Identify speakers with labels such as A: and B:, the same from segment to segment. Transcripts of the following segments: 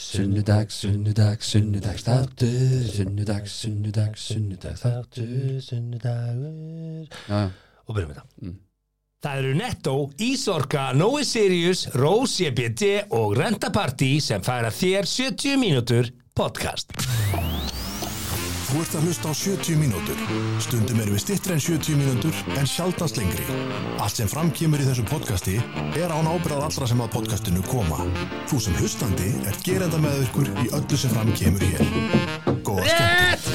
A: Sunnudag, sunnudag, sunnudag þáttur Sunnudag, sunnudag, sunnudag þáttur
B: sunnudagur
A: Já,
B: og byrjum við það
A: Mm.
B: Það eru Netto, Ísorka, Nói Sirius, Rose EBD og Renta Party sem færa þér 70 mínútur podcast
C: Þú ert að hlusta á 70 mínútur. Stundum erum við stittri en 70 mínútur en sjaldast lengri. Allt sem framkýmur í þessu podcasti er án ábyrðað allra sem að podcastinu koma. Þú sem hlustandi er gerenda með ykkur í öllu sem framkýmur hér. Góða skemmt.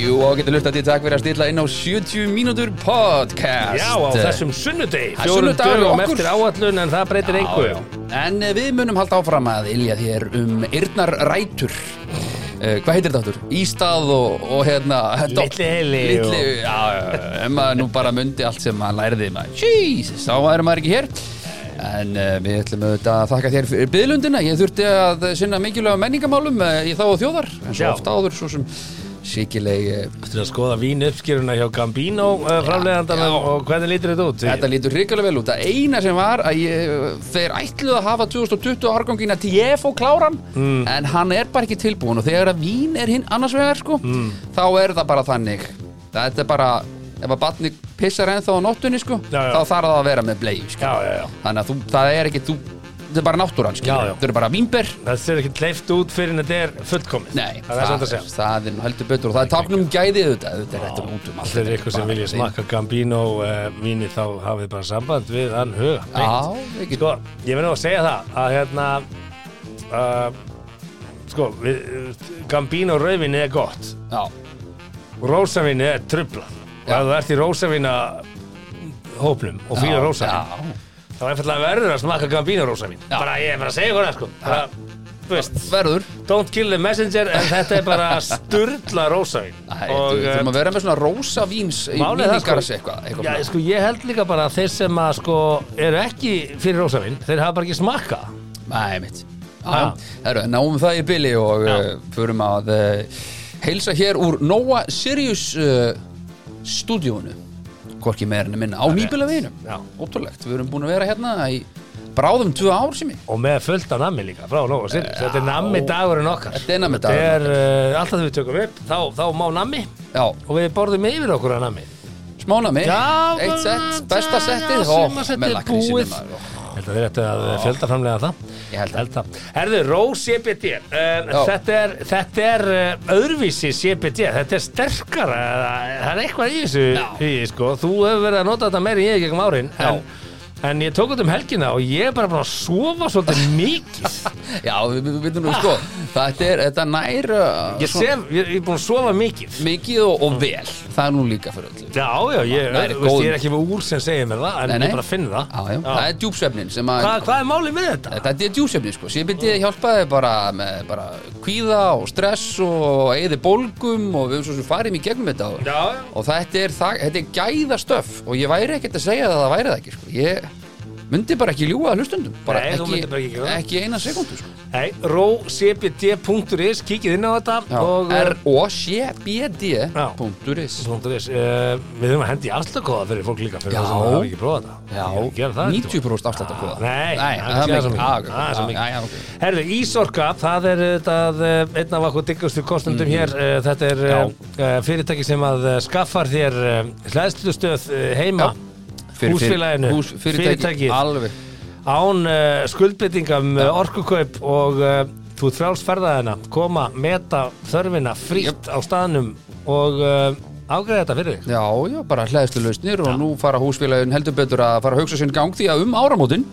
A: Jú, og getur lustað til takk fyrir að stilla inn á 70 mínútur podcast
B: Já, á þessum sunnudegi
A: Það er
B: Fjórum
A: sunnudagur hjá
B: dögum
A: okkur.
B: eftir áallun en það breytir
A: Já,
B: engu
A: já. En eh, við munum halda áfram að ilja þér um yrnar rætur Eh, Hvað heitir þetta áttur? Ístað og, og hérna dott-
B: Litli heili
A: Litli,
B: og-
A: já, já, já, ef maður nú bara myndi allt sem maður læriði maður, Jesus, þá erum maður ekki hér En uh, við ætlum auðvitað að þakka þér fyrir byðlundina Ég þurfti að sinna mikilvæga menningamálum uh, í þá og þjóðar En svo
B: Já.
A: ofta áður, svo sem sikileg uh,
B: Þetta er að skoða vín uppskýruna hjá Gambino uh, framleiðandanum
A: já.
B: og hvernig lítur þetta út?
A: Þetta lítur hrikalega vel út. Það eina sem var að ég, þeir ætluðu að hafa 2020 árgangin að TF og kláran
B: Mm.
A: en hann er bara ekki tilbúin og þegar að vín er hinn annars vegar sko
B: Mm.
A: þá er það bara þannig. Þetta er bara, ef að batni pissar ennþá á nóttunni sko
B: Já, já.
A: þá þarf það að vera með bleið sko.
B: Já, já, já
A: Þannig að þú, það er ekki, þú, þetta er bara náttúran sko.
B: Já, já.
A: Þetta eru bara vínber.
B: Það ser ekki leift út fyrir en þetta er fullkomið
A: Nei,
B: Það er svona að segja
A: það er nú heldur betur og það er táknum gæði auðvitað, auðvitað er þetta út um allt.
B: Allir ykkur sem
A: Bara
B: vilja
A: hrein-
B: smakka Gambino uh, víni þá hafið bara samband við hann huga
A: Já, ekki.
B: Sko, ég verði nú að segja það að hérna uh, sko, við, Gambino rauðvinni er gott
A: Já,
B: Rósavinni er trubla og
A: Já.
B: ef þú ert í rósavinna hópnum og fíla rósavin
A: já.
B: þá er fælllega verður að smakka Gambino rósavin
A: Já.
B: bara ég er bara að segja ykkur það sko bara, þú veist,
A: Verður.
B: don't kill the messenger en þetta er bara sturla rósavin
A: Æ, og, þú
B: eh,
A: þurfum að vera með svona rosa víns í
B: Málið er það,
A: mínigaras
B: sko.
A: eitthvað, eitthvað
B: Já,
A: svona.
B: sko, ég held líka bara að þeir sem að sko eru ekki fyrir rósavinn, þeir hafa bara ekki smakka
A: Nei, mitt
B: Já.
A: Heru, Náum það í bili og
B: Já.
A: uh, förum að uh, heilsa hér úr Nóa Sirius uh, stúdíónu Hvorki meirinu minna á nýbila veginum
B: Já.
A: Ótrúlegt, við erum búin að vera hérna í bráðum tvö ár sem ég
B: og með fullt af nammi líka, frá nóg og sinni þetta er nammi dagurinn okkar
A: Þetta er nammi
B: þetta
A: dagurinn
B: er uh, alltaf þegar við tökum upp, þá, þá má nammi
A: Já,
B: og við borðum yfir okkur að nammi
A: smána mig
B: Já,
A: Eitt sett, besta
B: já,
A: settið Ó,
B: sumarsettið
A: með
B: er búið.
A: lakrísinu maður.
B: Held að þeir ættu að fjöldaframlega það
A: Ég held að
B: Held það. Herðu, Rós CBD uh, Þetta er, þetta er uh, öðruvísi CBD, þetta er sterkara það það er eitthvað í þessu
A: Já.
B: í, sko. Þú hefur verið að nota þetta meira en ég gegnum árin en, en ég tók þetta um helgina og ég er bara búin að sofa svolítið mikið
A: Já, við við- við veitum nú sko Þetta er, þetta nær uh,
B: Ég
A: svona-
B: sef, ég, ég er búin að sofa mikið
A: mikið og, og vel það er nú líka fyrir öllu
B: Já, já, ég,
A: Það er
B: veist,
A: góð-
B: ég er ekki með úr sem segir mér það en
A: Nei, nei.
B: ég bara finn það
A: já, já.
B: Já.
A: það er djúpsvefnin sem að
B: Hvað, hvað er málið með þetta?
A: Þetta er djúpsvefnin sko, sem byrjaði að hjálpa þið bara með bara kvíða og stress og eði bólgum og við höfum svo sem farið í gegnum þetta áður.
B: Já, já
A: og þetta er, það, þetta er gæða stöf og ég væri ekkert að segja það að það væri það ekki sko. ég myndi bara ekki ljúga að hlustundum bara
B: Nei, þú myndir bara ekki
A: ekki,
B: gera það.
A: ekki eina sekundu sko.
B: Nei, rócbd.is, kíkið inn á þetta og eh,
A: R-O-C-B-D.is
B: Svonduris, uh, við höfum að hendi afslagkóða fyrir fólk líka fyrir
A: Já.
B: það sem hafa ekki prófað það
A: Já,
B: Ég gera það,
A: 90% afslætt að kóða
B: Nei,
A: Nei,
B: það er
A: það
B: ekki
A: er
B: það svo mikið. Það er svo
A: mikið Ah, ok.
B: mikið.
A: Já, já, ok.
B: Herðu, Ísorka, það er það, einn af okkur diggustu kostendum hér uh, Þetta er
A: Mm. Já.
B: uh, fyrirtæki sem að uh, skaffar þér uh, hlæðslustöð uh, heima
A: Já. Fyrir- fyrir-
B: Húsfélaginu,
A: hús, fyrirtæki,
B: fyrirtækið.
A: alveg
B: án uh, skuldbyttingam uh, orkukaup og uh, þú ert frálsferðaðina koma, meta þörfina frítt á staðnum og uh, ágreða þetta fyrir þig
A: Já, já, bara hlæðstu lausnir og nú fara húsfélagin heldur betur að fara að hugsa sinn gang því að um áramótin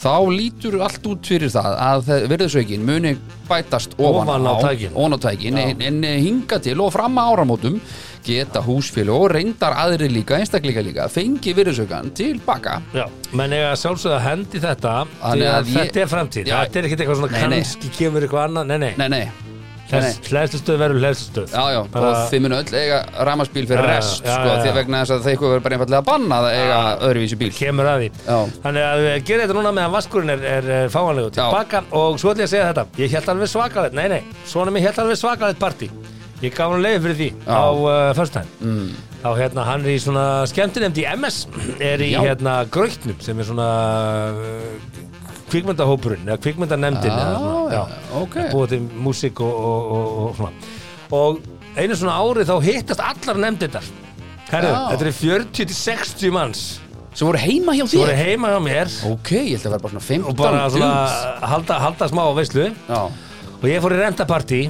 A: þá lítur allt út fyrir það að verðisaukin muni bætast ofan,
B: Ofan á tækin.
A: ofan á tækin en, en hinga til og fram að áramótum geta húsfélag og reyndar aðri líka, einstakleika líka, fengi verðisaukan til baka
B: Já, menn eiga að sjálfsögða hendi þetta því
A: Þannig
B: að
A: að ég-
B: þetta er framtíð
A: Já.
B: þetta er ekkert eitthvað svona
A: Nei, nei.
B: kannski kemur eitthvað annað, nei nei,
A: Nei, nei, nei, nei.
B: hlæðslustöð verður hlæðslustöð
A: Já, já, og þið munu öll eiga ramaspíl fyrir
B: Já, já,
A: rest,
B: já,
A: sko,
B: já,
A: því
B: já.
A: vegna þess að það eitthvað verður bara einfallega að banna að eiga öðruvísi bíl
B: kemur að því
A: Já.
B: þannig að við gerum þetta núna meðan vaskurinn er, er, er fáanlegu til
A: Já.
B: baka og svo ætlum ég að segja þetta ég held alveg svakalegt, nei nei, svona mér held alveg svakalegt partí ég gaf hann leiði fyrir því
A: Já.
B: á uh, fyrstæðin mm. þá hérna hann er í svona skemmtinemd í MS er í
A: Já.
B: hérna gröktnum sem er svona uh, kvikmyndahópurinn eða kvikmyndanemdin
A: Já,
B: eða svona,
A: Ah, já,
B: já,
A: ok.
B: að búa til músík og, og, og, og svona og einu svona ári þá hittast allar nemdinnar herru,
A: Já.
B: þetta er 40 til 60 manns
A: sem voru heima hjá
B: þú
A: þér
B: voru heima hjá mér
A: ok, ég held að vera bara svona 15
B: og bara svona
A: dudes.
B: halda, halda smá veislu
A: já,
B: og ég fór í rentapartí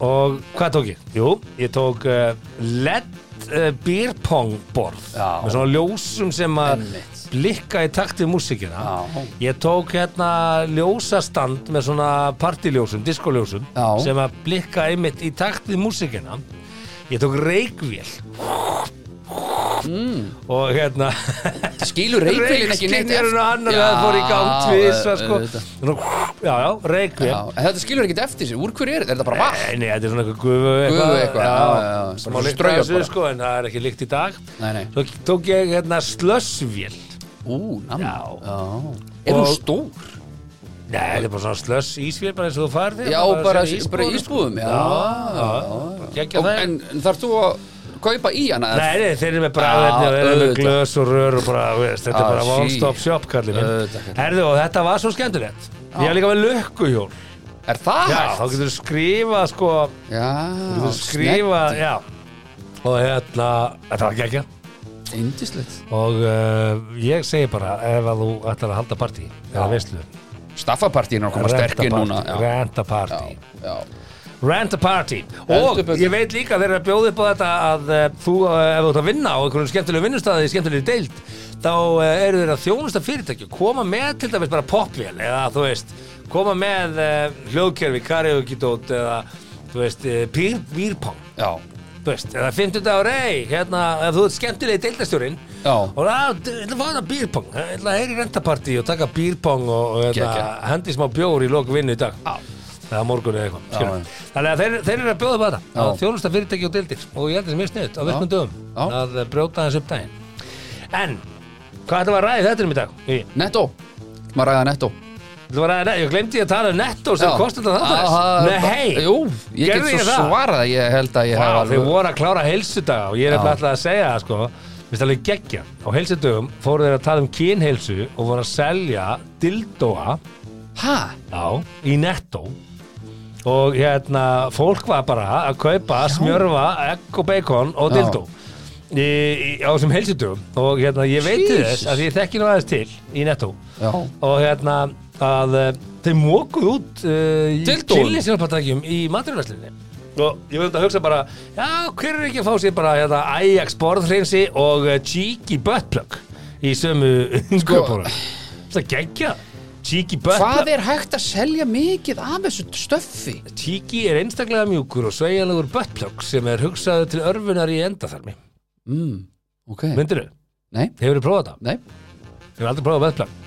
B: og hvað tók ég? Jú, ég tók uh, LED uh, beer pong borð
A: Já.
B: með svona ljósum sem að
A: Einmitt.
B: blikka í takt við músikina
A: Já.
B: ég tók hérna ljósastand með svona partiljósum, diskoljósum
A: Já.
B: sem að blikka einmitt í takt við músikina ég tók reikvél mm.
A: Mm.
B: og hérna
A: skilur reykvílin ekki neitt
B: Reykskynjarinn og annar
A: Já,
B: það fór í gang tvisvar sko.
A: auðvitað.
B: Nú, já, já, reykvél
A: Já, en þetta skilur ekkert eftir sér, úr hverju er þetta? Er þetta bara vatn?
B: Nei, nei, þetta er svona eitthvað gufu eitthvað,
A: Gufu eitthvað, já, já, já.
B: smá
A: Bara
B: líkt
A: straujar
B: að þessu
A: bara.
B: sko, en það er ekki líkt í dag
A: Nei, nei.
B: Svo tók ég hérna slössvél
A: Ú, namn
B: Já.
A: Er hún
B: Og-
A: stór?
B: Nei, þetta er bara svona slöss ísvél bara eins og þú hérna, farði
A: Já, bara, bara ísbúðum Já,
B: já, já.
A: Og, en þarf þú að kaupa í hana?
B: Nei, nei, þeir eru með
A: Já,
B: bræðverðni og þeir eru með
A: auðvitað.
B: glös og rör og bara, veist, þetta
A: Ah,
B: er bara one
A: sí.
B: stop shop, kallir
A: Auðvitað,
B: minn
A: kallinn.
B: Herðu, og þetta var svo skemmtilegt Ég var líka með lukkuhjól
A: Er það
B: Já, þá
A: hægt?
B: getur þú skrifað, sko,
A: Já,
B: þú getur skrifað, já Og hérna, þetta var ekki
A: snett, Yndislegt
B: og uh, ég segi bara ef að þú ætlar að halda partí eða veistlu
A: Staffapartíin er að koma sterkir núna Já,
B: renta partí
A: já, já.
B: renta partí og
A: Heldur betur.
B: ég veit líka þegar að bjóði upp á þetta að uh, þú uh, ef þú ert að vinna á einhvern skemmtilegu vinnustæði í skemmtilegu deild þá uh, eru þeir að þjónusta fyrirtæki koma með til dæmis bara popvél eða þú veist koma með uh, hljóðkerfi karaoke-dót eða þú veist uh, pýr, pýrpong
A: já.
B: Þú veist, eða 50 dagur, ei, hérna, ef þú ert skemmtilegi deildastjórinn
A: Já.
B: og að, þú ætla að fá það bírpong, þú ætla að heyri rentapartí og taka bírpong og, og hérna,
A: Geggjað.
B: hendi smá bjór í lok vinnu í dag
A: Já.
B: eða morgun eða eitthvað,
A: Já,
B: skilur þannig að þeir, þeir eru að bjóða upp á þetta,
A: Já.
B: að þjónusta fyrirtæki og deildir og ég held þessi mjög sniðut á virknum
A: Já.
B: dögum að eh, brjóta þessu upp daginn en, hvað ætlum við að ræða þetta um í dag? Í,
A: Netto Maður ræða netto
B: ætlum við að ræða, ég glemdi að tala um netto
A: Já.
B: sem kostið það
A: Aha,
B: þáttarins, nei
A: Jú, ég
B: Gerði
A: get
B: ég
A: svo
B: það?
A: svarað að Ég held að ég hef
B: Vá,
A: alveg-
B: þeir voru að klára heilsudaga og ég er
A: Já.
B: nefnilega alltaf að segja það sko Mér finnst alveg geggja Á heilsudögum fóru þeir að tala um kynheilsu og voru að selja dildóa
A: Ha?
B: já, í netto og hérna fólk var bara að kaupa, smjörfa, egg og bacon og
A: Já.
B: dildó í, í, á þessum heilsudögum og hérna ég veit til
A: Jesus.
B: þess að ég þekki nú aðeins til í netto
A: Já
B: og hérna að eh, þeir mókuð út uh, í
A: Dildóum?
B: kynlýsjónpartækjum í maturvæslinni og ég veit að hugsa bara já, hver er ekki að fá sér bara hérna, Ajax borðhreinsi og uh, cheeky buttplug í sömu innkjöpunum það geggja cheeky
A: Hvað
B: buttplug
A: er hægt að selja mikið af þessu stöffi?
B: cheeky er einstaklega mjúkur og sveigjanlegur buttplug sem er hugsaður til örfunar í endatharmi
A: Mm, ok
B: myndiru,
A: Nei,
B: hefur þið prófað það?
A: nei,
B: ég hef aldrei prófað buttplug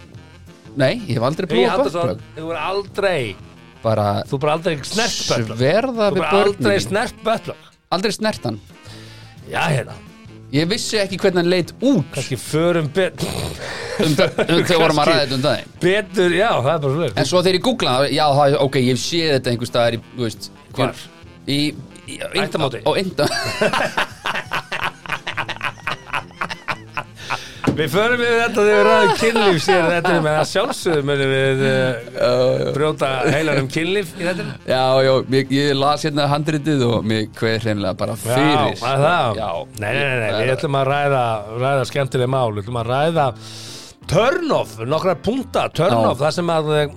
A: nei, ég hef aldrei
B: Egi
A: prófað
B: Haldarsson,
A: börnblögg
B: þú er aldrei
A: Bara
B: þú er bara aldrei snert buttplug
A: sverða
B: þú
A: við
B: er bara
A: börnum
B: aldrei
A: mín.
B: snert buttplug
A: Aldrei snert hann
B: Já, hérna,
A: Ég vissi ekki hvernig hann leit út
B: kannski förum bet
A: um, þau- um þau vorum að ræða þetta um daginn
B: betur, já, það er bara svolítið
A: En svo þegar ég googla það, já, það, ok, ég sé þetta einhver staðar í, þú veist
B: Hvar?
A: Í, í á inn-
B: Ættamóti.
A: Á enda
B: Við förum við þetta þegar við ræðum kynlíf sér þetta er með að sjálfsögum munum við uh, brjóta heilanum kynlíf í þetta
A: Já, já, ég, ég las hérna handritið og mér hver hreinlega bara
B: Já,
A: fyrir
B: hvað er það?
A: Já.
B: Nei, nei, nei, nei, við ætlum að ræða, ræða skemmtileg mál, við ætlum að ræða turn-off, nokkra punta turn-off, það sem að eh,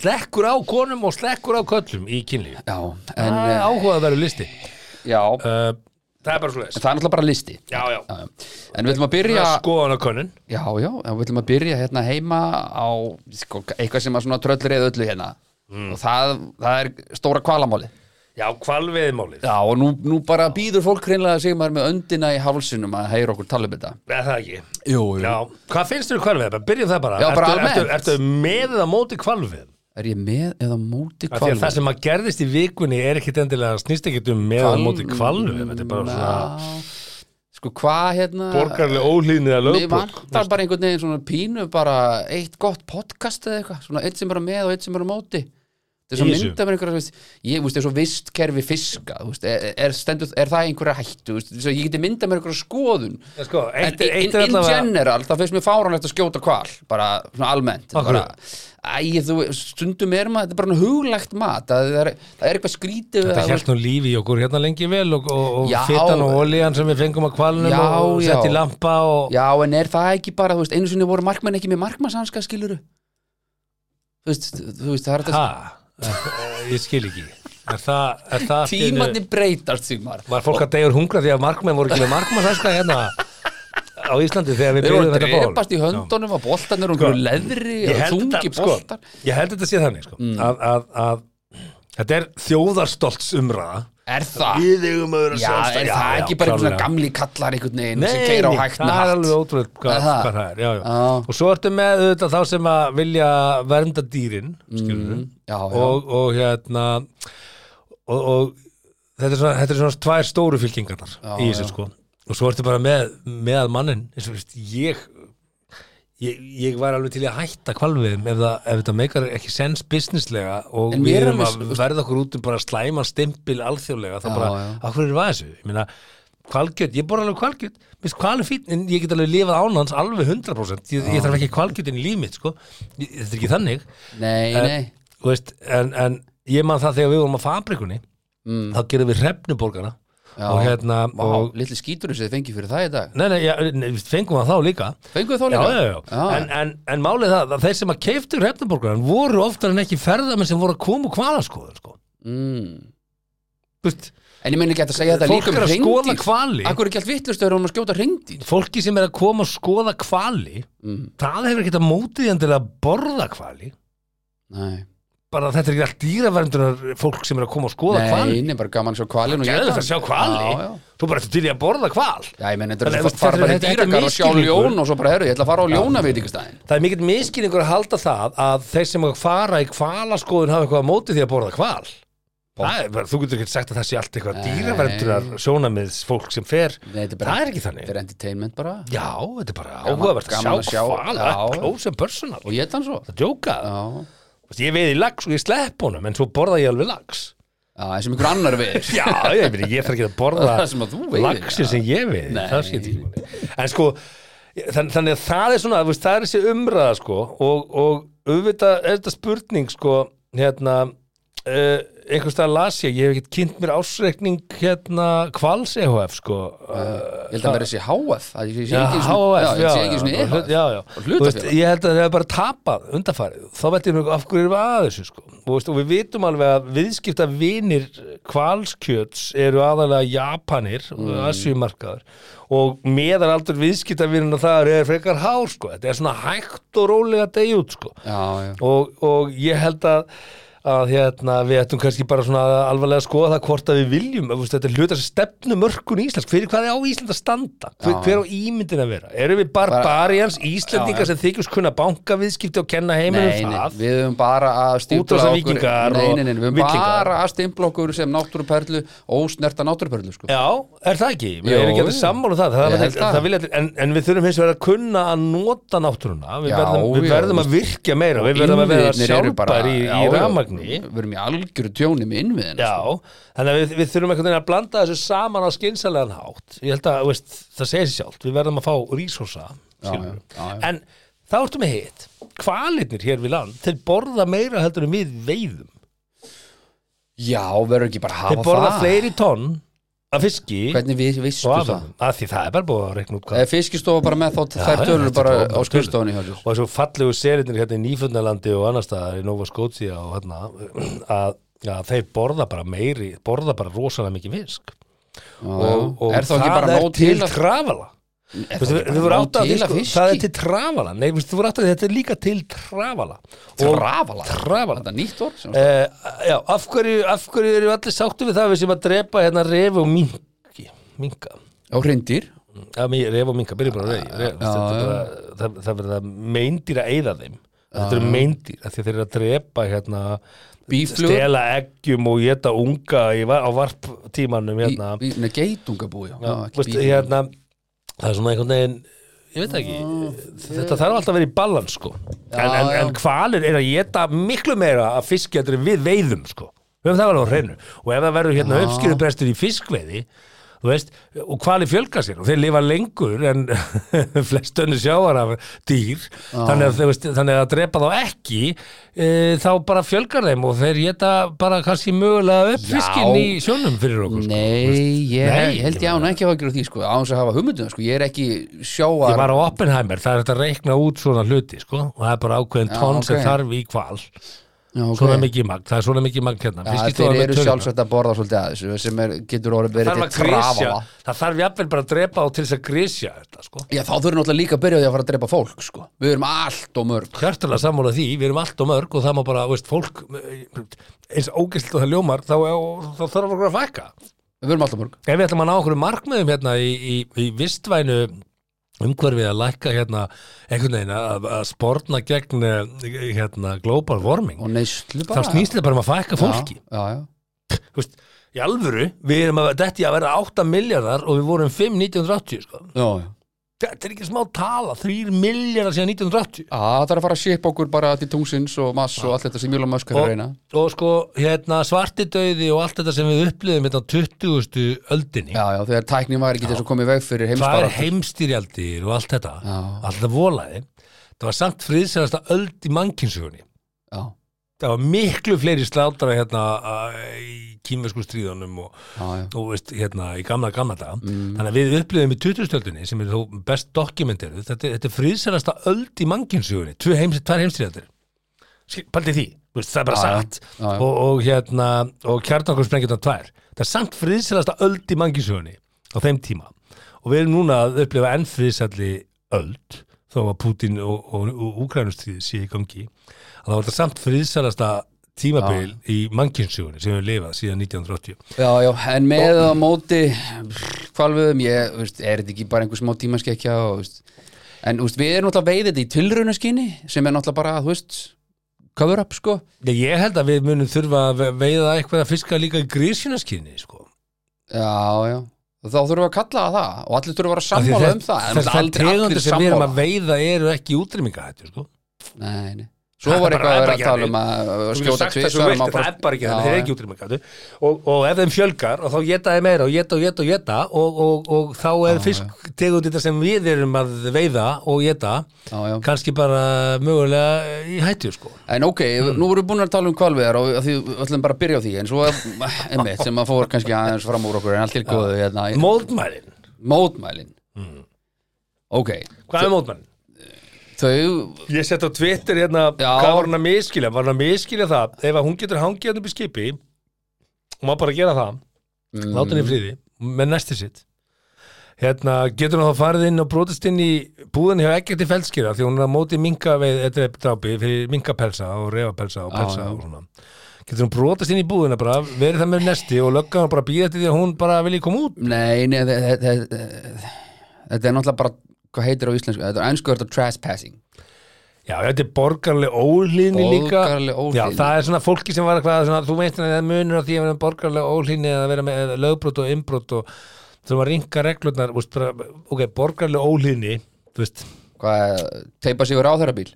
B: slekkur á konum og slekkur á köllum í kynlíf.
A: Já, en,
B: Það er
A: eh,
B: áhugaverður listi.
A: já, en
B: Uh, það er bara svo leiðis.
A: það er náttúrulega bara listi
B: Já, já.
A: Já, já. En við ætlum að byrja
B: Skoðan á konun.
A: Já, já, en við ætlum að byrja hérna heima á sko, eitthvað sem að svona tröllrið öllu hérna
B: Mm.
A: og það, það er stóra kvalamáli
B: Já, kvalveiðmálið.
A: Já, og nú, nú bara býður fólk hreinlega að segja maður með öndina í hálsinum að heyra okkur tala um þetta
B: Er það ekki?
A: Jú,
B: Já, hvað finnst þér um kvalveið? Byrjum það bara.
A: Já, bara almennt.
B: ertu, ertu, ertu með eða móti kvalveið?
A: Er ég með eða móti
B: Af því að
A: kvalveið?
B: Það sem að gerðist í vikunni er ekkit endilega snýst ekkit um með eða
A: Hval-
B: móti kvalveið. Þetta er bara svona
A: Sko, hvað hérna
B: borgarlega ólýðnið að
A: Mér
B: lögbúk.
A: vantar bara einhvern veginn svona pínu bara eitt gott podcast eða eitthvað, svona eitt sem bara með og eitt sem bara á móti Þetta þess að
D: Í þessu?
A: mynda með einhverja þú veist, ég, þú veist, eins og vistkerfi fiska þú veist, er, er, stendur, er það einhverja hættu þú veist, þess að ég geti mynda með einhverja skoðun
B: Já, sko, eitt-
A: en
B: eitt
A: in,
B: er
A: in
B: allavega-
A: general, það finnst mér fáránlegt að skjóta hval bara svona almennt
B: Af
A: bara, æ, þú, stundum er maður þetta er bara huglægt mat það er, það er eitthvað skrítið við
B: Þetta
A: að-
B: hjælt nú lífi í okkur hérna lengi vel og, og, og
A: Já.
B: fitan og olían sem við fengum að kvalunum
A: Já,
B: og
A: já.
B: sett í lampa og
A: Já, en er það ekki bara, þú veist, einu sinni voru markmenn ekki með markmannsanska, skiluru? Þú veist, þú veist, það er þetta
B: ha, Eh, ég skil ekki er það, er það allt í einu-
A: tímandi breytast símar.
B: var fólk að degur hungra því að markmenn voru ekki með markmannsaska hérna á Íslandi þegar við
A: Þeir voru
B: byrjuðum
A: að
B: þetta ból
A: drepast í höndunum og boltarnir og einhverju leðri
B: Sko, ég
A: og
B: held,
A: þungi
B: þetta, sko,
A: boltar.
B: ég held þetta sé þannig sko,
A: Mm.
B: að, að, að þetta er þjóðarstolts umræða
A: Er það?
B: við eigum að vera
A: Já,
B: sjálfstæð-
A: er það ekki bara einhverjum gamli kallar einhvern veginn sem keira á hægt
B: það er alveg ótrúlega hvað,
A: Er það?
B: hvað það er já, já.
A: Já.
B: og svo ertu með auðvitað þá sem að vilja vernda dýrin skilurðu,
A: já, já.
B: Og, og hérna og, og þetta, er svona, þetta er svona tvær stóru fylkingarnar í þessu sko og svo ertu bara með, með mannin eins og veist, ég Ég, ég var alveg til í að hætta kvalviðum ef, það, ef þetta meikar ekki sens businesslega og
A: En
B: við
A: mér er
B: erum að
A: alveg-
B: verða okkur út um bara slæman stimpil alþjóðlega þá
A: Já,
B: bara,
A: já.
B: af hverju var þessu? Ég meina, kvalgjöt, ég borða alveg kvalgjöt minnst kval er fín, en ég get alveg lifað án hans alveg 100%, ég, ég þarf ekki kvalgjöt inn í líf mitt, sko, ég, þetta er ekki þannig
A: Nei,
B: En-
A: nei.
B: þú veist, en, en ég man það þegar við vorum á fabrikunni þá gerum við hrefnuborgana
A: Mm. Já.
B: og hérna,
A: Vá,
B: og
A: litli skíturinn sem þið fengið fyrir það í dag.
B: Nei, nei, já, nei, við fengum það þá líka
A: Fenguð þá
B: Já,
A: líka?
B: já, já, En, en, en málið það, að þeir sem að keiftu hrefnuborgaran voru oftar en ekki ferðamenn sem voru að koma og hvala skoðun, sko
A: Mm.
B: Þú veist,
A: En ég meni ekki hægt að segja þetta
B: fólk
A: líka um
B: er að skoða
A: hreindýr.
B: hvali
A: Akkur er ekki allt vittlust að vera um að skjóta hreindýr?
B: fólki sem er að koma og skoða hvali
A: Mm.
B: það hefur ekkert að mótið en til að borða hvali
A: Nei.
B: bara þetta er ekki allt dýraverndunar fólk sem er að koma og skoða hvali
A: Nei, nei, bara gaman að sjá kvalin og
B: Geðveikt
A: éta
B: að
A: hann.
B: sjá hvali.
A: Já, já.
B: þú bara eftir til í að borða hval
A: Já, ég menn, þetta
B: Þannig
A: er
B: að
A: svo
B: þetta
A: fara
B: er-
A: bara í
B: þetta er
A: dýragarð og sjá
B: misskilningur.
A: ljón og svo bara, herru, ég ætla að fara á ljónaveitingastæðin
B: það er mikill miskilningur að halda það að þeir sem að fara í hvalaskoðun hafa eitthvað að móti því að borða hval Það er bara, þú getur ekki sagt að það sé allt eitthvað
A: Nei.
B: dýraverndunar sjónamiðs fólk sem fer
A: Nei, þetta er bara,
B: það er ekki
A: þetta
B: þannig
A: er entertainment bara
B: já, þetta er bara
A: Gaman-
B: áhugavert
A: gaman
B: að
A: að
B: sjá
A: sjá-
B: hval
A: Já.
B: close and personal
A: og ég þann svo
B: það djóka
A: Já,
B: Þú veist, ég veið í lags og ég slepp honum en svo borða ég alveg lags
A: já, eins og einhver annar við
B: Já, ég, meina, ég þarf ekki að
A: Það
B: borða
A: sem að þú veiðir,
B: laxin
A: já.
B: sem ég veiði
A: Nei.
B: það skiptir ekki máli. en sko, þann, þannig að það er svona þú veist, það er þessi umræða sko og, og auðvitað er þetta spurning sko, hérna uh, einhvers staðar las ég, ég hef ekkert kynnt mér ásreikning hérna Kvals EHF sko
A: Mm.
B: uh,
A: Ég held að vera þessi HF að ég sé
B: Já,
A: ekki svona-
B: HF,
A: já,
B: já,
A: ég sé ekki svona
B: já,
A: EHF.
B: já, já.
A: Og
B: Þú veist,
A: hlutafélag.
B: ég held að það er bara tapað undarfarið, þá veit ég mjög af hverju erum við að þessu sko, og, veist, og við vitum alveg að viðskipta vinir kvalskjöts eru aðalega japanir mm. asjumarkaður og meðalaldur viðskipta vinirna þar er frekar hár sko, þetta er svona hægt og rólega degi út sko
A: Já, já,
B: og, og ég held að að hérna, við ættum kannski bara svona alvarlega að skoða það hvort að við viljum að, veist, þetta er hluta sem stefnu mörkun í Íslands fyrir hvað er á Ísland að standa hver,
A: Já.
B: hver á ímyndin að vera, eru við barbarians Íslendingar
A: Já, já.
B: sem þykjumst kunna bankaviðskipti og kenna
A: Nei,
B: heiminum
A: nei,
B: það
A: við höfum bara að stimpla
B: Útrásar
A: okkur
B: víkingar
A: Nei,
B: og
A: nei, nei, við höfum
B: villingar.
A: bara að stimpla okkur sem náttúruperlu ósnerta náttúruperlu, sko
B: Já, er það ekki? Við
A: Jú,
B: erum ekki
A: jú.
B: allir sammála um það, það,
A: Ég
B: það,
A: held það.
B: það, það vilja allir- en, en við þurfum hins vegar að kunna að nota náttúruna Við,
A: Já,
B: verðum, við
A: já,
B: verðum
A: veist.
B: að virkja meira, við verðum að vera
A: Innviðirnir eru bara-
B: sjálfbæri í,
A: já,
B: í
A: já,
B: rafmagni
A: Við erum í algjöru tjóni með innviðin
B: Já,
A: Sko.
B: þannig að við, við þurfum einhvern veginn að blanda þessu saman á skynsælegan hátt ég held að, þú veist, það segir sér sjálft við verðum að fá resursa
A: Já,
B: skilurðu.
A: já, já, já.
B: en þá ertu með hitt hvalirnir hér við land, þeir borða meira heldur en við veiðum
A: Já, verður ekki bara að hafa
B: þeir borða fleiri tonn af fiski
A: Hvernig við,
B: og
A: vistu
B: af
A: það?
B: að því það er bara búið að reikna út hvað
A: Eða fiskistofa bara með þá
B: Já,
A: þær
B: já,
A: tölur
B: þetta
A: bara
B: er bara
A: á
B: tölur.
A: skrifstofunni hjá sér
B: og þessu fallegu selinir hérna í Nýfundalandi og annar staðar í Nova Scotia og hérna að, að þeir borða bara meiri borða bara rosalega mikið fisk og, og
A: Er þá ekki bara nóg til að
B: trafala
A: er þá
B: Vistu,
A: ekki
B: við
A: bara
B: vorum
A: nóg
B: átt að því,
A: til að
B: sko, það er
A: fiski?
B: til trafala Nei, vistu, við vorum átt að því, þetta er líka til trafala
A: Travala
B: Travala
A: Þetta er nýtt orð sem-
B: Eh, Já, af hverju, af hverju erum við allir sáttu við það við sem að drepa hérna refi og minki minka
A: Já, hrindir
B: Já, mér- ref og minka, byrjum bara á ref, ref
A: Já,
B: þetta er
A: já.
B: bara, það, það verða meindýr að eyða þeim Þetta eru meindýr, af því að þeir eru að drepa hérna,
A: Bíflugur
B: stela eggjum og geta unga í, va- á varptímanum
A: Bí-
B: hérna.
A: bí- Nei, geitungabúi já,
B: Já,
A: já, ekki
B: veist,
A: bíflugur.
B: hérna, það er svona einhvern veginn ég veit það ekki, þetta þarf alltaf að vera í balans sko. en, en,
A: Ah, já.
B: en hvalir er að geta miklu meira að fiskja þetta við veiðum sko. við höfum það alveg á hreinu og ef það verður hérna uppskýrubrestur í fiskveiði þú veist, og hvalir fjölga sér og þeir lifa lengur en flest önnu sjáar af dýr þannig að, þú veist, þannig að drepa þá ekki e, þá bara fjölgar þeim og þeir geta bara kannski mögulega upp
A: Já.
B: fiskin í sjónum fyrir okkur sko.
A: Nei, ég
B: Nei,
A: held ég
B: ég
A: án ekki að hafa ekki á því sko, án þess að hafa hugmyndum sko, ég er ekki
B: Ég
A: sjáar
B: var á Oppenheimer, það er þetta að reikna út svona hluti, sko, og það er bara ákveðin
A: Já,
B: tonn sem
A: ok.
B: þarf í kval
A: Já, ok.
B: svona mikið magn, það er svona mikið magn hérna
A: Já,
B: Fiskistofa
A: þeir
B: með
A: eru
B: töluna.
A: sjálfsagt að borða svolítið að þessu sem er, getur orðið verið
B: þarf
A: til
B: að grisja,
A: trafala
B: það þarf jafnvel bara að drepa á til þess að grisja þetta, sko
A: Já, þá þurfum náttúrulega líka að byrja á því að fara að drepa fólk sko. Við erum allt og mörg
B: Hjartalega sammála því, við erum allt og mörg og það má bara, veist, fólk eins ógæslega það ljómar, þá, þá þarf okkur að fækka
A: Við erum allt og mörg
B: Ef við ætlum að ná okkur markmiðum hérna í, í, í vistvænu umhverfið að lækka hérna einhvern veginn að, að sporna gegn eh, hérna global warming
A: Og neyslu
B: þá
A: bara
B: snýst þetta bara um að fækka fólki
A: Já, já, já.
B: Þú veist, í alvöru, við erum að detti að vera 8 miljardar og við vorum 5 1980 sko.
A: Já, já.
B: þetta er ekki smá tala 3 miljardar síðan 1980
A: Já, það þarf að fara að shipa okkur bara til tungsins og mass og allt þetta sem Júla Mösk er að
B: og,
A: reyna
B: og sko hérna svartidauði og allt þetta sem við upplifum hérna á 20. öldinni
A: Já, já, þegar tæknin var ekki þess að koma í veg fyrir
B: það
A: heimsbara
B: er heimstyrjaldir og allt þetta
A: Já.
B: allt þetta volaði það var samt friðsælasta öld í mannkynnsugunni
A: Já,
B: það var miklu fleiri slátara hérna að- í kýmversku stríðunum og,
A: já, já
B: og veist, hérna, í gamla, gamla dag
A: Mm.
B: þannig að við upplifum í 20-stöldinni sem er þó best dokumentir þetta, þetta er friðsælasta öld í mannkynsugunni tvær heims, tvær heimstríðaldir paldið því, þú veist, það er bara
A: Já, já.
B: satt
A: Já, já.
B: Og, og hérna, og kjartankur sprengjum tvær, það er samt friðsælasta öld í mannkynsugunni á þeim tíma og við erum núna að upplifa enn friðsælli öld þó að Putin og, og, og Ukrænustríð sé í gangi að það var þetta samt friðsælasta tímabil í mannkynsugunni sem við lifað síðan 1980
A: Já, já, en með að móti hvalviðum, ég, veist, er þetta ekki bara einhver smá tímaskekja og, veist, en, veist, við erum náttúrulega veiðið í tilraunaskinni sem er náttúrulega bara, þú veist cover up, sko
B: Já, ég held að við munum þurfa að ve- veiða eitthvað að fiska líka í grísjunaskinni, sko.
A: Já, já, þá þurfum við að kalla það það og allir þurfum að vera
B: Af því
A: sammála
B: þær-
A: um það
B: þær-
A: en náttúrulega
B: Þær
A: aldrei allir
B: tegundir sem við erum að
A: sammála
B: veiða eru ekki útrýminga hættu, sko.
A: Nei, nei Svo
B: Það
A: var
B: er bara-
A: eitthvað að vera
B: það
A: að
B: er bara
A: tala um að uh, skjóta tvisvar og maður
B: það er bara ekki,
A: Já,
B: það er ekki útrýminga hættu. Og, og ef þeim fjölgar, og þá geta þeim meira og geta og geta og geta og, og, og þá er fisktegundir sem við erum að veiða og geta
A: já, já.
B: kannski bara mögulega í hættu, sko.
A: En ok, nú vorum við búin að tala um kvalveðar og af því við ætlum bara að byrja á því en svo einmitt sem að fór kannski aðeins fram úr okkur en allt til góðu hérna,
B: Mótmælin.
A: mótmælin
B: Mm.
A: Ok,
B: Hvað er mótmælin?
A: þau
B: Ég sett á Twitter hérna,
A: Já.
B: hvað var hann að miskilja? Var hann að miskilja það, ef að hún getur hangið hann upp í skipi, hún má bara gera það, láta
A: Mm.
B: hann í friði, með næsti sitt. Hérna, getur hann þá farið inn og brotist inn í búðan hjá ekkert í feldskýra, því hún er að móti minka veið, þetta er drápi, fyrir minkapelsa og refapelsa og
A: Já,
B: pelsa
A: já.
B: og svona. Getur hún brotist inn í búðina bara, verið það með næsti og löggan bara býða til því að hún bara vilji koma út.
A: Mm, Nei, nei, þe- þe- þe- þe- þetta er náttúrulega bara hvað heitir á íslensku, þetta er einsku þetta trespassing
B: Já, þetta er borgarleg ólíni líka.
A: Borgaraleg
B: Já,
A: óhlýðni.
B: það er svona fólki sem var eitthvað svona, þú veist að það munur á því að vera borgarlega óhlýni eða að vera með lögbrot og innbrot og þurfum að ringa reglurnar þú veist, bara, ok, borgarlega óhlýni þú veist,
A: Hvað, teipa sig við ráðherrabíl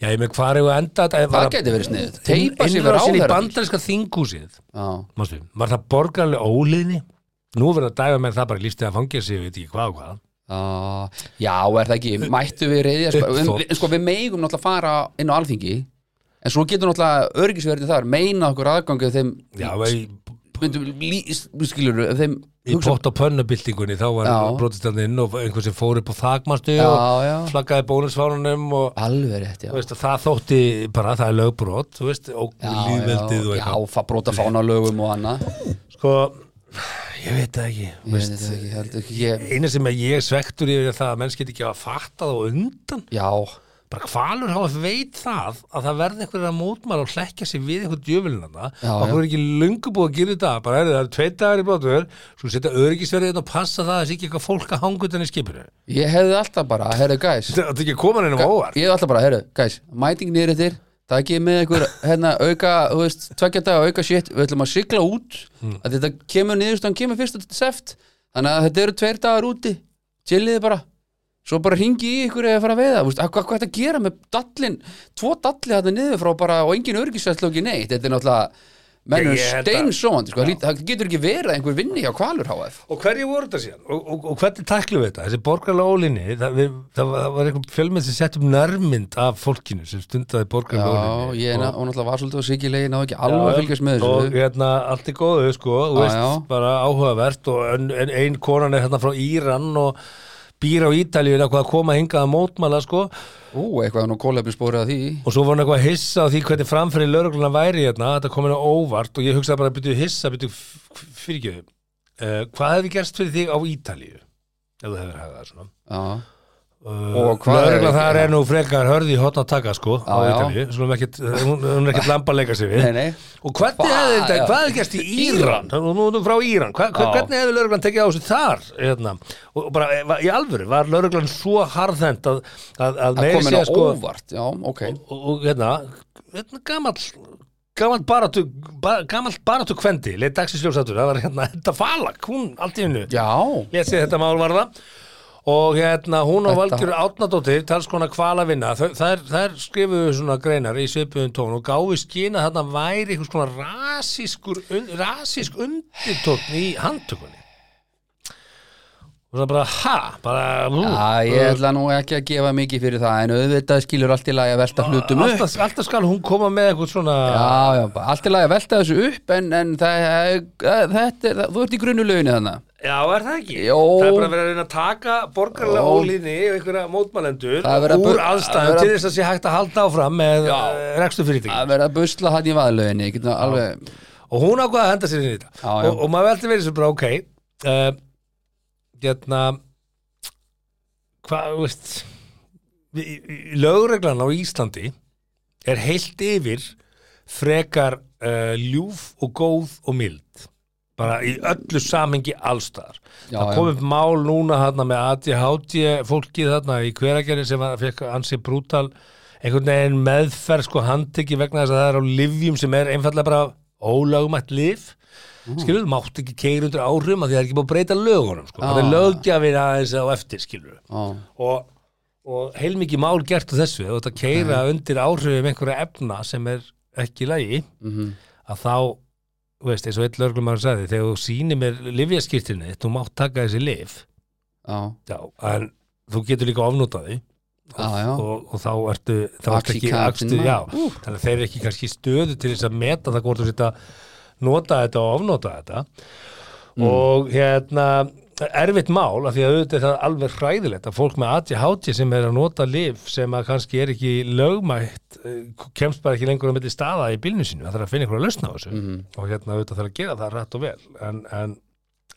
B: já, ég með hvað er ég að enda þetta
A: Það geti verið sniðið, teipa sig við
B: Innrásin í
A: ráðherrabíl
B: bandarinska þingúsið
A: Já,
B: Mástu, var það borgarlega óhlýni nú verður að dæfa með það bara lífstið að fangja sig, ég veit ekki hvað og hvað
A: Já, já, er það ekki, mættu við reyðja
B: Uppþot.
A: En sko, við megum náttúrulega fara inn á alþingi En svo getur náttúrulega örgisverðið þar meina okkur aðgangið þeim
B: já, í,
A: myndum, lí, skilur við, þeim
B: í pott og pönnubildingunni þá var
A: Já.
B: brotistandinn og einhver sem fór upp á þakmastu
A: Já,
B: og
A: já,
B: flaggaði bónusfánunum og
A: alveg rétt, já
B: Þú veist, að það þótti bara það er lögbrot þú veist, og
A: Já,
B: líðveldið og
A: já,
B: eitthvað
A: já, fa- brota fánalögum og annað
B: sko, ég veit það ekki
A: Ég veit það ekki, heldur ekki ég,
B: eina sem að ég er svektur yfir er það að menn get ekki að fatta það og undan
A: Já,
B: bara hvalur hafa veit það að það verði einhverjir að mótmála og hlekkja sig við einhver djöfulina
A: Já,
B: það okkur er ekki löngu búið að gera þetta bara er það er tveit dagar í brotur svo setja öryggisverðið hérna og passa það að það sé ekki eitthvað fólk að hanga utan í skipinu
A: ég hefði alltaf bara, herðu gæs
B: þetta er ekki að koma nefnum óvart
A: Ég hefði alltaf bara, herru, gæs, mæting nýr eftir Það ekki með einhver, hérna, auka þú veist, tveggja dag auka shit, við ætlum að sigla út
B: Hmm.
A: að þetta kemur niðurst hann kemur fyrst og seft, þannig að þetta eru tveir dagar úti chilliði bara, svo bara ringi í ykkur eða fara að veiða þú veist, hvað, hvað er þetta að gera með dallin tvo dalli þetta niður frá bara og engin örgisvæslu og ekki neitt, þetta er náttúrulega
B: Ég-
A: mennur
B: ég held að-
A: steinsónd, sko, það lít- það getur ekki verið að einhver vinni hjá Kvalur HF
B: Og hverju voru þetta síðan? Og, og, og hvernig tæklum við þetta? Þessi borgarlega ólinni, það, við, það var, það var einhver fjölmenn sem sett upp nærmynd af fólkinu sem stundaði borgarlega
A: Já,
B: ólinni.
A: ég ná, og náttúrulega var svolítið á sikilegi náðu ekki alveg að fylgjast með
B: og
A: þessu
B: hérna allt er góðu sko, þú
A: Já,
B: veist,
A: já.
B: bara áhugavert og ein, ein, ein konan er hérna frá Íran og býr á Ítalíu eða hvað að koma hingað að mótmæla sko
A: Ú, eitthvað nú kólefni spórið að því
B: og svo var hann eitthvað að hissa á því hvernig framfyrir laurugluna væri hérna, þetta kom henni á óvart og ég hugsaði bara að byrja hissa, byrja fyrir ekki uh, hvað hefði gerst fyrir þig á Ítalíu ef þú hefur hagað það svona
A: Já, Og
B: uh,
A: hvað
B: laurugla
A: er-
B: þar er nú frekar hörði í hotna taka sko á
A: Já, já.
B: Ítalíu, Skulum ekkit, hún, hún er ekkert lampa að leika sig við
A: nei, nei
B: og hvernig
A: Hva-
B: hefði þetta,
A: já.
B: hvað hefði gerst í Íran nú nú erum við frá Íran, hva, hva,
A: Já.
B: hvernig hefði lauruglan tekið á þessu þar hérna? og og bara e, va- í alvöru, var lauruglan svo harðhend að, að, að
A: Það
B: meiri
A: kom inn
B: segja
A: á
B: sko
A: óvart, já, ok
B: og, og hérna, hérna gamall gamall baratu ba, gamall baratu kvendi, leitt dagsins ljósatur það var hérna, þetta falak, hún allt í hennu
A: Já,
B: lét sig þetta mál varða og hérna hún og
A: Þetta-
B: Valgjör Átnadóttir talskona kvalavinna, þær, þær skrifuðu svona greinar í svipuðum tón og gáfi skina að þarna væri einhvers konar rasískur, un, rasísk undirtókn í handtökunni og það bara ha bara, ú,
A: Já, ég ætla nú ekki að gefa mikið fyrir það en auðvitað skilur allt í lagi að velta hlutum upp
B: alltaf, alltaf skal hún koma með eitthvað svona
A: Já, já, bara allt í lagi að velta þessu upp en, en það, það, þetta er, það, þú ert í grunnulöginu þannig
B: Já, er það ekki?
A: Jó.
B: Það er bara verið að reyna að taka borgarlega
A: Jó.
B: ólinni og einhverja mótmælendur
A: Það er verið
B: úr
A: að bu- það er
B: aðstæðum
A: verið að-
B: til þess að sé hægt að halda áfram með eh,
A: Já.
B: rekstu fyrirtæki
A: að vera að busla hann í vaðlöginni getur það alveg,
B: og hún ákvaði að henda sér inn í þetta
A: Já, já.
B: Og, og maður veldi verið sem bara ok uh, hérna hvað, þú veist í- í- lögreglan á Íslandi er heilt yfir frekar uh, ljúf og góð og mild bara í öllu samhengi allstaðar
A: Já,
B: það
A: já.
B: kom upp mál núna þarna með ADHD fólkið þarna í hveragerði sem að fekk ansi brútal einhvern veginn meðferð sko handtekki vegna þess að það er á livjum sem er einfallega bara ólagumætt liv
A: Mm.
B: skilur, þú mátt ekki keira undir áhrifum að því það er ekki búið að breyta lögunum sko. það er
A: Ah.
B: löggjafi aðeins á eftir skilur
A: já,
B: og, og heilmikið mál gert á þessu, þú ert að keira undir áhrifum einhverja efna sem er ekki í lagi,
A: mhm,
B: að þá þú veist, eins og einn lörglumar sagði, þegar þú sýnir mér livjaskirtinni, þú mátt taka þessi lif,
A: já,
B: já, en þú getur líka ofnotað því
A: já, já
B: sko. og, og þá ertu, þá ertu ekki
A: Oxycontin,
B: akstu,
A: man.
B: já, þannig að þeir eru ekki kannski í stöðu til þess að meta það hvort þú sitt að nota þetta og ofnota þetta
A: Mm.
B: og hérna erfitt mál, af því að auðvitað er það alveg hræðilegt að fólk með ADHD sem er að nota lif sem að kannski er ekki lögmætt, eh, kemst bara ekki lengur á milli staða í bílnu sínu, það þarf að finna einhverja að lausna á þessu
A: Mhm.
B: og hérna auðvitað þarf að gera það rætt og vel, en, en,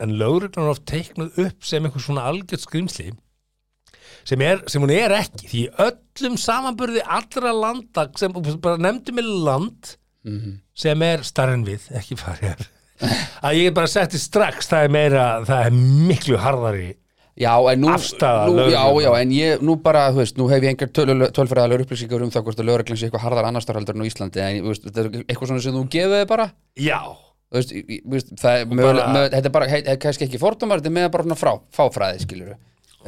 B: en lögreglan er oft teiknuð upp sem einhvers svona algjört skrimsli sem, er, sem hún er ekki, því í öllum samanburði allra landa sem bara nefndi mig land
A: Mhm.
B: sem er starren við, ekki farjar að ég er bara setti strax það er meira, það er miklu harðari
A: Já, en nú,
B: Afstaða
A: nú já,
B: lögreglunnar.
A: já, en ég, nú bara, þú veist, nú hef ég engar tölu- tölfræðilegar upplýsingar um það hvort að lögreglan sé eitthvað harðar annars starhaldur en á Íslandi, en, þú veist, þetta er eitthvað svona sem þú gefið þið bara
B: já,
A: Þú veist, í- í- þú veist, það er mögulega,
B: bara-
A: mögulega, þetta er bara, hei, hei, kannski ekki fordómar, þetta er með bara svona frá, fáfræði, skilur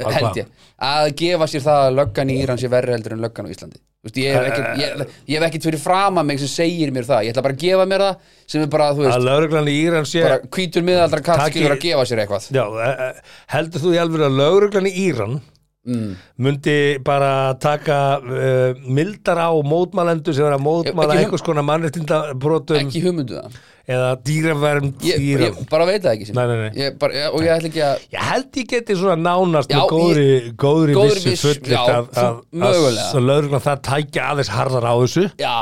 B: Að hvað?
A: held ég, að gefa sér það að löggan í Íran sé verri heldur en löggan á Íslandi Þú veist, ég hef ekkert, ég, ég hef ekkert fyrir frama mig sem segir mér það, ég ætla bara að gefa mér það sem er bara, þú veist,
B: að lögreglan í Íran sé
A: bara hvítur miðaldra kall
B: Taki-
A: skilur að gefa sér eitthvað
B: já, eh, eh, heldur þú í alveg að lögreglan í Íran
A: mm.
B: myndi bara taka uh, mildar á mótmælendur sem er að mótmæla
A: Ekki hum-
B: einhvers konar mannréttindabrotum
A: ekki hugmyndu það
B: eða dýravernd
A: ég,
B: í Íran
A: ég bara veit það ekki sem
B: Nei, nei, nei.
A: Ég, bara, og ég ætla ekki að
B: Ég held ég geti svona nánast
A: Já,
B: með góðri, góðri,
A: góðri
B: vissu
A: viss-
B: fullit
A: já,
B: að,
A: þú-
B: að, að
A: mögulega.
B: svo lögreglan það tækja aðeins harðar á þessu
A: já,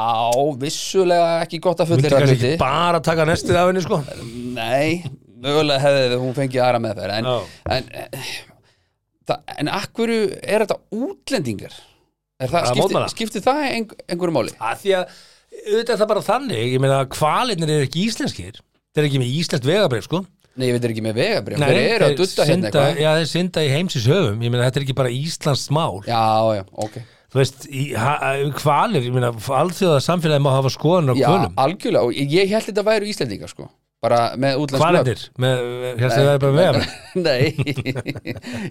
A: vissulega ekki gott að
B: Myndi
A: fullir
B: kannski ekki bara taka nestið af henni sko
A: Nei, mögulega hefði hún fengið aðra meðferð en,
B: Já.
A: en, eh, það, en akkur er þetta útlendingar? Er
B: Að
A: það, skipti,
B: mótmæla?
A: skipti það ein, einhverju máli?
B: að Því að auðvitað er það bara þannig Ég meina að kvalinir eru ekki íslenskir Þeir eru ekki með íslenskt vegabrif sko
A: Nei, ég veit þeir ekki með vegabrið Þeir eru að dutta hérna
B: synda,
A: eitthvað
B: Já, þeir synda í heimsins höfum Ég meina þetta er ekki bara íslenskt mál
A: Já, já, ok
B: Þú veist, í, ha, kvalir Ég meina alþjóða samfélagi má hafa skoðan á
A: Já,
B: kvalum
A: algjörlega, og ég- ég held þetta væru Íslendingar sko bara með útlensk nöfn.
B: Hvalendir? Hérstu það er bara með hann?
A: Nei,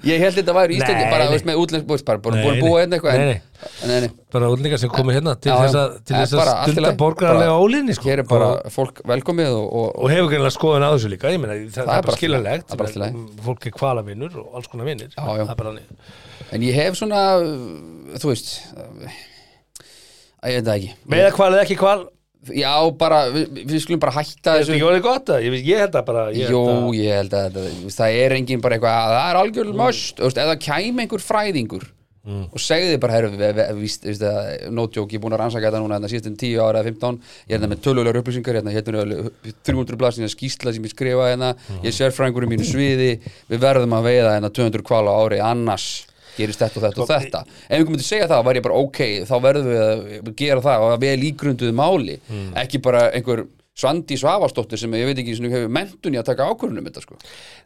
A: ég held þetta væri Íslandi
B: Nei,
A: bara,
B: nei.
A: þú veist, með útlensk búist bara, búin
B: Nei,
A: búin að
B: nei.
A: búa hérna eitthvað
B: Nei,
A: en- Nei, nei,
B: Bara útlendingar sem komið hérna til
A: Já,
B: þess
A: já.
B: að, til
A: Eh,
B: þess að
A: bara allt í
B: stunda
A: lagi.
B: borgaralega
A: Bara-
B: ólýning sko.
A: hér er bara
B: og,
A: fólk velkomið og, og,
B: og hefur greinlega skoðun á þessu líka, ég meina, það, það
A: er
B: er bara
A: bara allt í lagi.
B: skiljanlegt
A: Það er bara allt í lagi.
B: menn, fólk er kvalavinnur og alls konar vinnir
A: Já, já.
B: það er bara hann
A: en ég hef svona uh, þú veist uh, að ég veit það ekki
B: Meða kval eða ekki kval,
A: Já, bara, við, við skulum bara hætta
B: þetta er
A: þessu
B: ekki orðið gott að, ég, ég held að bara ég
A: Jó,
B: held að, Mm.
A: ég held að þetta, þú veist, það er engin bara eitthvað að það er algjörl möst, þú veist, ef það kæmi einhver fræðingur og segði bara, herru, við, við, við, við, við, nótjók, ég er búin að rannsaka þetta núna hérna þannig síðast en 10 ára eða 15, ég er þetta með tölulegar upplýsingar, hérna, hérna eru 300 blaðsina skýsla sem ég skrifa hérna, ég er
B: Mm.
A: sérfræðingur í mínu sviði, við verðum að veiða hérna 200 kvala á ári, annars gerist þetta og þetta
B: Sko,
A: og þetta ef einhver myndi segja það, var ég bara ok, þá verðum við að gera það og að við líkrunduðu máli,
B: Hmm.
A: ekki bara einhver Svandi Svavastóttir sem ég veit ekki sem hefur mentun í að taka ákvörunum þetta sko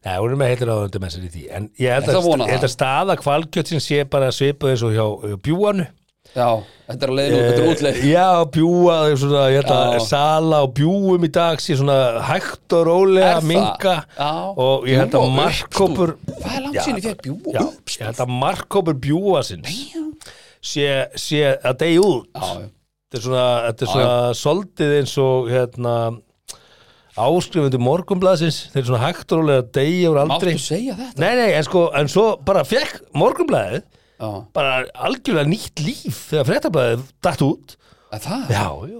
B: Nei, hún er með heitir áður með sér í því en ég held
A: Ætla
B: að,
A: að vona
B: ég held
A: það.
B: að staða kvalkjötsin sé bara svipuð eins og hjá, hjá bjúanu
A: Já, þetta er að leiðin út, þetta er útleið
B: Eh, Já, bjúa, þau svona, ég held að
A: Já.
B: sala og bjúum í dag sé svona hægt og rólega
A: Er það?
B: minga
A: Já.
B: og ég held að
A: Bjúga og
B: markkópur
A: Hvað er langt
B: Já,
A: síðan ég fekk bjúa
B: Já,
A: uppstúf?
B: ég held að markkópur bjúa sinns sé, sé að deyja út
A: Já, já.
B: Þetta er svona, þetta er
A: Já,
B: svona soldið eins og hérna áskrifundu morgunblaðsins þeir eru svona hægt og rólega að deyja úr aldrei
A: Máttu segja þetta?
B: Nei, nei, en sko, en svo bara fekk morgunblaðið
A: Já,
B: bara algjörlega nýtt líf þegar fréttablaðið datt út
A: að það?
B: Já, já.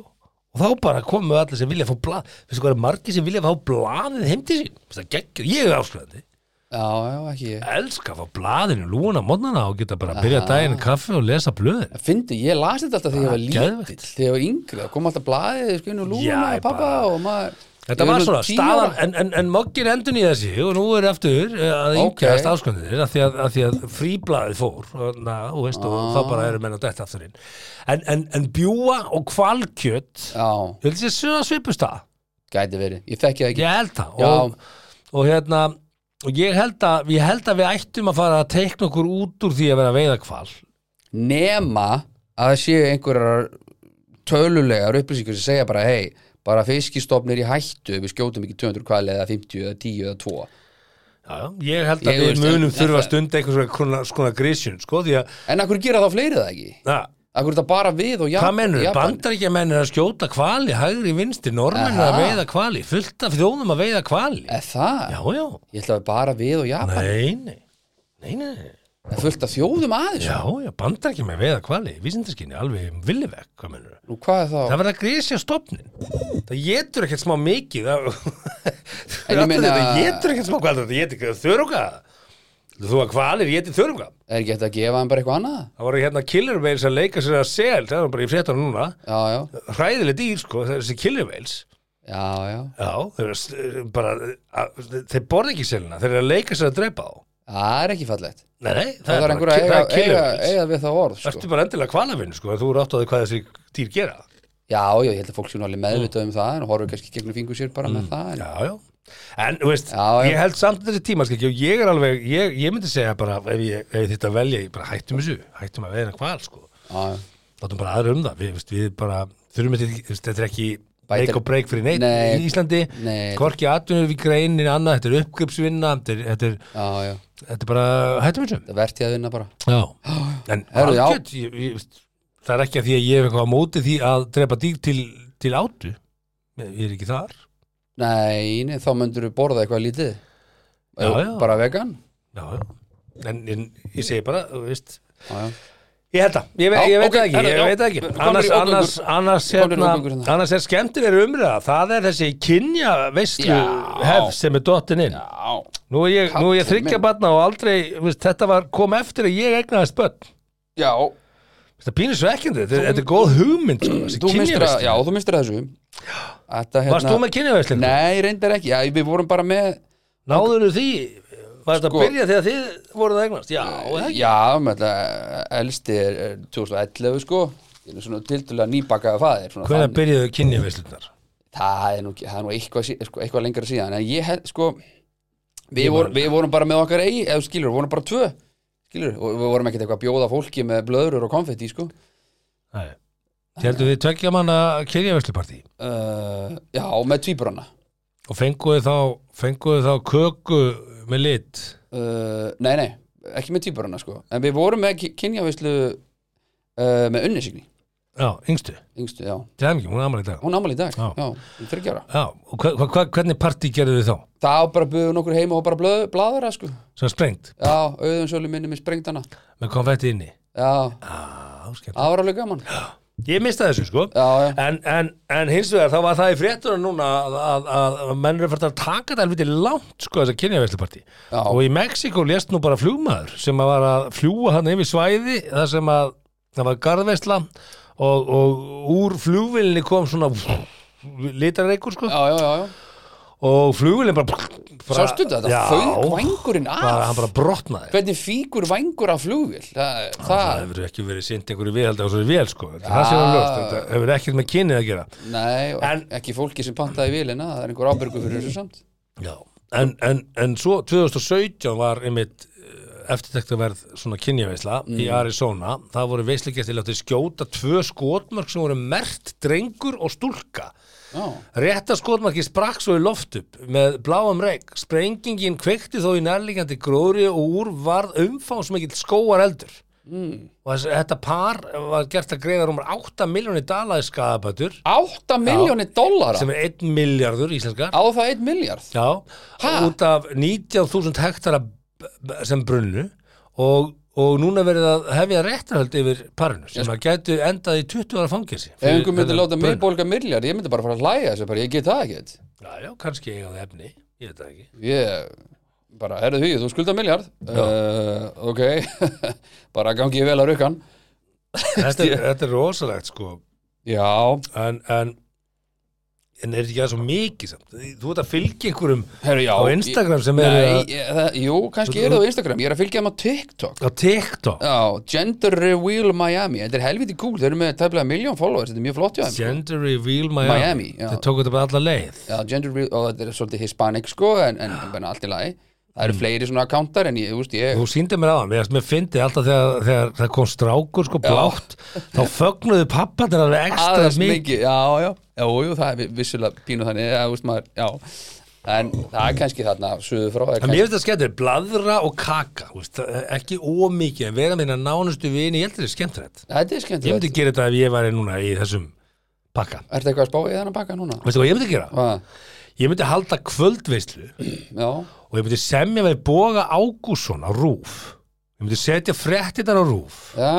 B: Og þá bara komu allir sem vilja fá blað. Veistu hvað er margir sem vilja fá blaðið heim til sín? Veistu það geggjur, ég er áskrifandi.
A: Já, já, ekki ég
B: Elska að fá blaðinu lúna mótnana og geta bara að byrja daginn í kaffi og lesa blöðin.
A: Fyndi, ég las þetta alltaf þegar ég var
B: Ah, Geðveikt.
A: lítill Þegar ég var yngri, það kom alltaf blaðið sko inn og
B: Já,
A: lúna
B: ég
A: og pappa
B: bara-
A: og maður
B: Þetta
A: Ég
B: var
A: nú
B: svona
A: 10 ára.
B: staðan, en, en, en moggir endun í þessi og nú er eftir eh, að
A: Ok.
B: yngjast okay. áskrifandi því að, að því að fríblaðið fór og, na, og, veist, og
A: Ah.
B: þá bara eru menn að detta aftur inn. En, en, en bjúa og kvalkjött,
A: Já,
B: ég held sér svona svipustað.
A: gæti verið, ég þekki það ekki
B: Ég held það og, og hérna og ég held, að, ég held að við ættum að fara að teikna okkur út úr því að vera veiða kval
A: nema að það séu einhverjar tölulegar upplýsingar sem segja bara hei, bara fiskistofnir í hættu við skjótum ekki 200 kvali eða 50 eða 10 eða 2
B: Já, já, ég held að
A: Ég
B: við
A: veist,
B: munum
A: en-
B: þurfa
A: en
B: að stunda einhvers konar, konar grísjun sko, því að,
A: en akkur gera þá fleiri það ekki
B: na,
A: akkur er þetta bara við og já
B: hvað mennur,
A: Japan?
B: bandaríkjamenn er að skjóta kvali, hægri vinstri, normenn er að
A: Aha.
B: veiða kvali, fullt af þjóðum að veiða kvali
A: Er það?
B: Já, já,
A: Ég ætla að bara við og Japan
B: nei, nei Nei, nei, nei,
A: Það er fullt af þjóðum aðeins
B: já, já, bandaríkjamenn veiða kvali, vísindaskinni, alveg villivegg, hvað mennur
A: Nú hvað er þá?
B: Það verður að grísja stofnin Það getur ekkert smá mikið Það
A: En ég meina-
B: það getur ekkert smá hvað þetta getur þörunga Þú að hvalir getur þörunga
A: Er ekki hægt að gefa hann bara eitthvað annað?
B: Það voru hérna killer whales að leika sér að sel Það var bara í fréttan núna
A: Já, já,
B: Hræðileg dýr sko, þessi killer whales
A: já, já
B: Já, þeir, eru s- bara, að, þeir borða ekki selina Þeir eru að leika sér að drepa þá
A: Það er ekki fallegt
B: Nei, nei, það,
A: Það er
B: bara
A: einhver
B: ki-
A: að eiga,
B: það er killer
A: eiga,
B: whales
A: eiga við það orð sko.
B: Ertu bara endilega kvalavinn sko, þú eru átt á því hvað þessi dýr gera
A: Já, já, ég held að fólk sé nú alveg meðvitað um það en horfur kannski gegnum fingur sér bara með það
B: Mm.
A: en...
B: Já, já. En, þú veist,
A: Já, já.
B: ég held samt þessi tímaskikki og ég er alveg, ég, ég myndi segja bara, ef ég, ef ég þetta velja, ég bara hættum þessu, hættum að veiða hval, sko.
A: Já, já.
B: Látum bara aðra um það, við, veist, við bara, þurfum þetta, ekki- þú veist, þetta er ekki
A: Bætir-
B: make og break fyrir neitt
A: Nei.
B: í Íslandi,
A: Nei.
B: hvorki atvinnur við greinin annað, þetta er uppgripsvinna, þetta er, þetta er,
A: já, já
B: þetta er bara, hættum þessu.
A: Það verðt ég að vinna bara
B: Já. En
A: Herru, já.
B: hvalkjöt, ég, ég, veist, það er ekki að því að ég hef eitthvað á móti því að drepa dýr til, til átu, ég er ekki þar.
A: Nei, nei þá myndur við borða eitthvað lítið
B: Já,
A: Ef-
B: já.
A: Bara vegan
B: Já, já. En, en ég segi bara, þú veist,
A: Já, já
B: Ég held það, ég, ve
A: Já,
B: ég veit
A: ok,
B: það ekki,
A: herra,
B: ég
A: já.
B: veit það ekki
A: Komnir í
B: annars,
A: ógöngur.
B: annars, annars,
A: Komnir í
B: hérna,
A: ógöngur hérna.
B: annars er skemmtilega umræða það er þessi kynja veistlu
A: Já.
B: hefð sem er dottin inn
A: Já,
B: nú er ég, nú er ég
A: Kallinn
B: þryggja
A: minn.
B: barna og aldrei þú veist, þetta var, kom eftir að ég eignaðist börn
A: já
B: þetta pínur svo ekkert, þetta, er- þetta er góð hugmynd sko, þessi
A: Þú
B: kynja
A: mistur að, já,
B: veistlu
A: þú mistur að þessu Þetta, hérna
B: varst þú með kynja veistlu?
A: Nei, reyndar ekki, já, við vorum bara með
B: náður því, var þetta
A: Sko-
B: að byrja þegar þið voruð að eignast? Já, eða ekki?
A: Já, með þetta, elsti er er 2011, sko Ég er nú Svona tildulega nýbakaða faðir svona
B: hvenær
A: þannig.
B: byrjuðu kynja veistlunar?
A: Það er nú, það er nú eitthvað, sí- sko, eitthvað lengra síðan En ég held, sko Við, vor, við vorum bara með okkar eigi, eða skilur, við vorum bara tvö Skilur, og við vorum ekkert eitthvað að bjóða fólki með blöðrur og konfetti, sko
B: heldur þið tveggja manna kynja veistlupartí?
A: uh, Já, með tvíbrana
B: Og fenguðu þá, fenguðu þá köku með lit
A: uh, Nei, nei, ekki með týpurana sko En við vorum með kynjavislu uh, með unnisigni
B: Já, yngstu,
A: Yngstu, já,
B: til það hún er amal í dag
A: hún ámæli í dag
B: Já.
A: Já, hún er 30 ára
B: Já, og hva, hva, hva, hvernig partí gerðu þið þá?
A: Það var bara buðum okkur heima og bara blöð, bladra sko
B: Svo sprengt,
A: Já, auðvinsölu minni með sprengdana
B: með konfetti inni
A: Já,
B: Já, skemmt
A: það var alveg gaman
B: Ég mista þessu, sko
A: Já, já,
B: En, en, en hins vegar, þá var það í fréttunum núna að, að, að að menn eru fært að taka þetta helviti langt, sko, þessa kynjaveislupartí.
A: Já.
B: Og í Mexíkó lést nú bara flugmaður sem að var að fljúa hann yfir svæði, þar sem að það var garðveisla og, og úr flugvillinni kom svona litarreikur, sko,
A: já, já, já, já.
B: og flugvillin bara... bara
A: Sástu þetta?
B: Já,
A: Það föng vængurinn af
B: bara, hann bara brotnaði.
A: Hvernig fíkur vængur af flugvél Það,
B: Það
A: það,
B: hefur ekki verið sint einhverju viðhaldi á svo vel, sko. Það sé hann lögst, þetta hefur ekkert með kynið að gera.
A: nei, og
B: En-
A: ekki fólki sem pantaði vélina Það er einhver ábyrgu fyrir þessu samt
B: Já, en, en, en svo 2017 var einmitt eh, eftirtektaverð svona kynjaveisla í Arizona, það voru veislugestir látið skjóta tvö skotmörk sem voru mert drengur og stúlka
A: Já,
B: rétta skotmarki sprakk svo í loft upp með bláum reik, sprengingin kveikti þó í nærliggjandi gróðri og úr varð umfangsmikill skóar eldur mm. og þess, þetta par var gert að greiða rúmar 8 miljónir dalaði skadabætur
A: 8 miljónir dollara
B: sem er 1 miljardur íslenskar
A: á það 1 miljard
B: Já,
A: Ha?
B: út af 19.000 hektara b- b- sem brunnu og, og núna verið að hefja réttarhöld yfir parinu sem að gætu endað í 20 ára fangelsi
A: ef
B: fyrir
A: einhver myndi
B: þennan
A: láta mig
B: bruna.
A: bólga miljard ég myndi bara fara að hlæja þessu bara, ég get það ekkert
B: Já, já, kannski eiga það efni, ég veit það ekki
A: ég bara, herðu hugið, þú skulda miljard uh, ok bara gangi ég vel að rukkan
B: Þetta er, þetta er rosalegt sko
A: já,
B: en, en, en er þetta ekki að svo mikið samt Þú ert að fylgja einhverjum
A: herru, já
B: á Instagram sem er
A: nei,
B: að,
A: ég, það, jú, kannski er það á Instagram ég er að fylgja þeim á TikTok
B: á TikTok
A: já, Gender Reveal Miami þetta er helviti cool, þeir eru með tæplega miljón followers þetta er mjög flott hjá þeim
B: Gender Reveal Miami,
A: Miami, já.
B: Þeir tóku þetta bara alla leið
A: Já, gender reveal, og þetta er svolítið hispanic sko, en, en bara allt í lagi það eru fleiri svona akkántar en ég, þú veist, ég
B: Mm. Þú síndi mér á hann, mér mér fyndi alltaf þegar, þegar það kom strákur sko blátt þá fögnuðu pappanir alveg ekstra
A: aðeins
B: mikið
A: mikið, já, já, já, jú, það er vi- vissulega pínu þannig, já, þú veist maður, já en það er kannski þarna suðu frá
B: En
A: er
B: mér
A: kannski,
B: finnst það skemmtilegt, bladra og kaka þú veist, það er ekki ómikið en vera minna nánustu vini, ég held að þetta er skemmtilegt
A: þetta er
B: Ég myndi
A: skemmtilegt
B: gera þetta ef ég væri núna í þessum pakka
A: Ertu eitthvað að spá í þennan baka núna?
B: Veistu hvað ég myndi gera?
A: Hvað?
B: Ég myndi halda kvöldveislu
A: Já,
B: og ég myndi semja við Boga Ágússon á Rúf Ég myndi setja fréttinar á Rúf
A: já,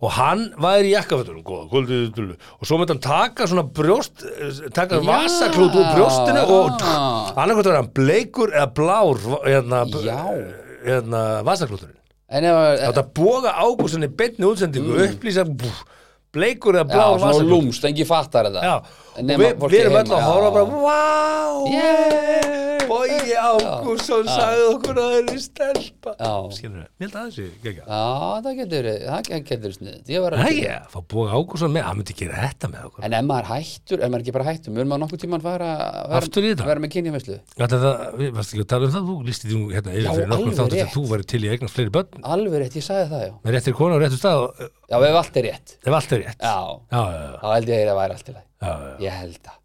B: og hann væri í jakkafötunum góða, kvöldið, dullu. og svo myndi hann taka svona brjóst eh, taka
A: Já.
B: vasaklút úr brjóstinu og
A: Já.
B: annarkvæmt var hann bleikur eða blár hérna, b-
A: Já.
B: hérna vasaklúturinn
A: en ef
B: þetta boga ágústinni beinni útsendingu upplýsa bú, bleikur eða
A: Mm. já,
B: blár
A: svona
B: vasaklút
A: lúmst, engi fattar þetta
B: Já, og
A: Nema
B: við,
A: fólki
B: við erum
A: heima,
B: öll að
A: já.
B: horfa bara Vá,
A: Yeah.
B: Bogi Ágússon sagði okkur að það er stelpa
A: Já.
B: Skilurðu, Mér held að þessi gegja
A: Já, það getur, það getur snið Ég var að
B: Æja, fá Boga Ágússon með, hann myndi gera þetta með okkur
A: En ef maður hættur, ef maður ekki bara hættur mun maður nokkuð tíman fara
B: Aftur í þetta?
A: vera, vera með kynjavislu
B: Þetta, það, við varst ekki að tala um það, þú listið því nú hérna yfir
A: Já,
B: fyrir nokkrum
A: alveg
B: þáttum þegar
A: rétt.
B: þú væri til í að eignast fleiri börn
A: Alveg rétt, ég sagði það já
B: með réttir konu á réttum stað og, eh,
A: Já, ef allt er rétt
B: ef allt er rétt.
A: Já,
B: Já, já, já,
A: þá held ég að það væri allt í lagi
B: já, já.
A: Ég held það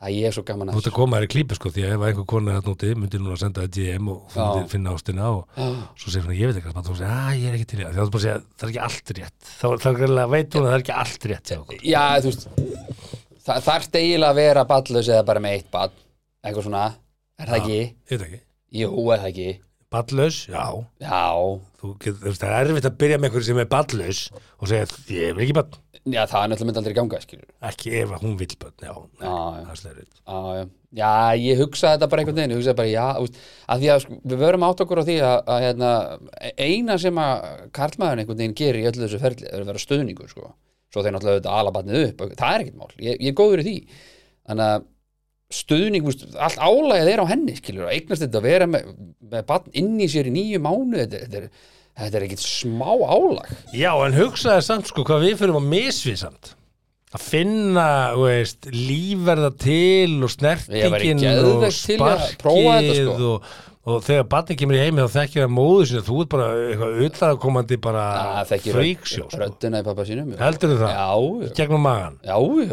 A: Það ég er svo gaman
B: Þú
A: að
B: ert að koma þér í klípi sko því að ef einhver konu hérna úti myndi núna að senda það DM og þú
A: Já.
B: myndi finna ástina og svo segir hún að ég veit ekki hvað þú segir að ég er ekki til í það þá er bara að segja það er ekki allt rétt þá, þá greinlega veit hún að það er ekki allt rétt hjá okkur
A: Já, þú veist Það þarf eiginlega að vera ballus eða bara með eitt ball Eitthvað svona Er það ekki?
B: Ég veit ekki
A: Jú, er það ekki?
B: Ballaus, já
A: Já
B: Þú get, þú veist, það er erfitt að byrja með einhverju sem er ballaus og segja ég er ekki ball
A: Já, það er náttúrulega myndi aldrei ganga, skilur
B: ekki ef að hún vill ball já, nei,
A: Já, já.
B: það er slegurinn
A: Já, já. já, ég hugsaði þetta bara einhvern veginn, ég hugsaði bara, já, þú veist, að því að sko, við verum átt okkur á því að, að hérna, eina sem að karlmaðurinn einhvern veginn gerir í öllu þessu ferli er að vera stöðningur, sko, svo þeir náttúrulega auðvitað ala batnið upp, og það er ekkert mál, ég, ég er góður í því, þannig að stuðning, þú veist, allt álægið er á henni, skilur, að eignast þetta að vera með, með batn inn í sér í nýju mánu, þetta, þetta er, þetta er ekkert smá álag.
B: Já, en hugsaði samt sko hvað við fyrir að misvið samt að finna, þú veist, lífverða til og
A: Ég væri
B: snertingin
A: geðveikt
B: og
A: til í að prófa þetta,
B: sparkið
A: sko.
B: og og þegar barnið kemur í heimi þá þekkja það móður sinni þú ert bara eitthvað utlaðakomandi bara
A: Það þekki
B: freaksjó Ah, sko.
A: röddina í pappa sínum já.
B: heldur þú það?
A: Já, já.
B: gegnum magan?
A: Já, já.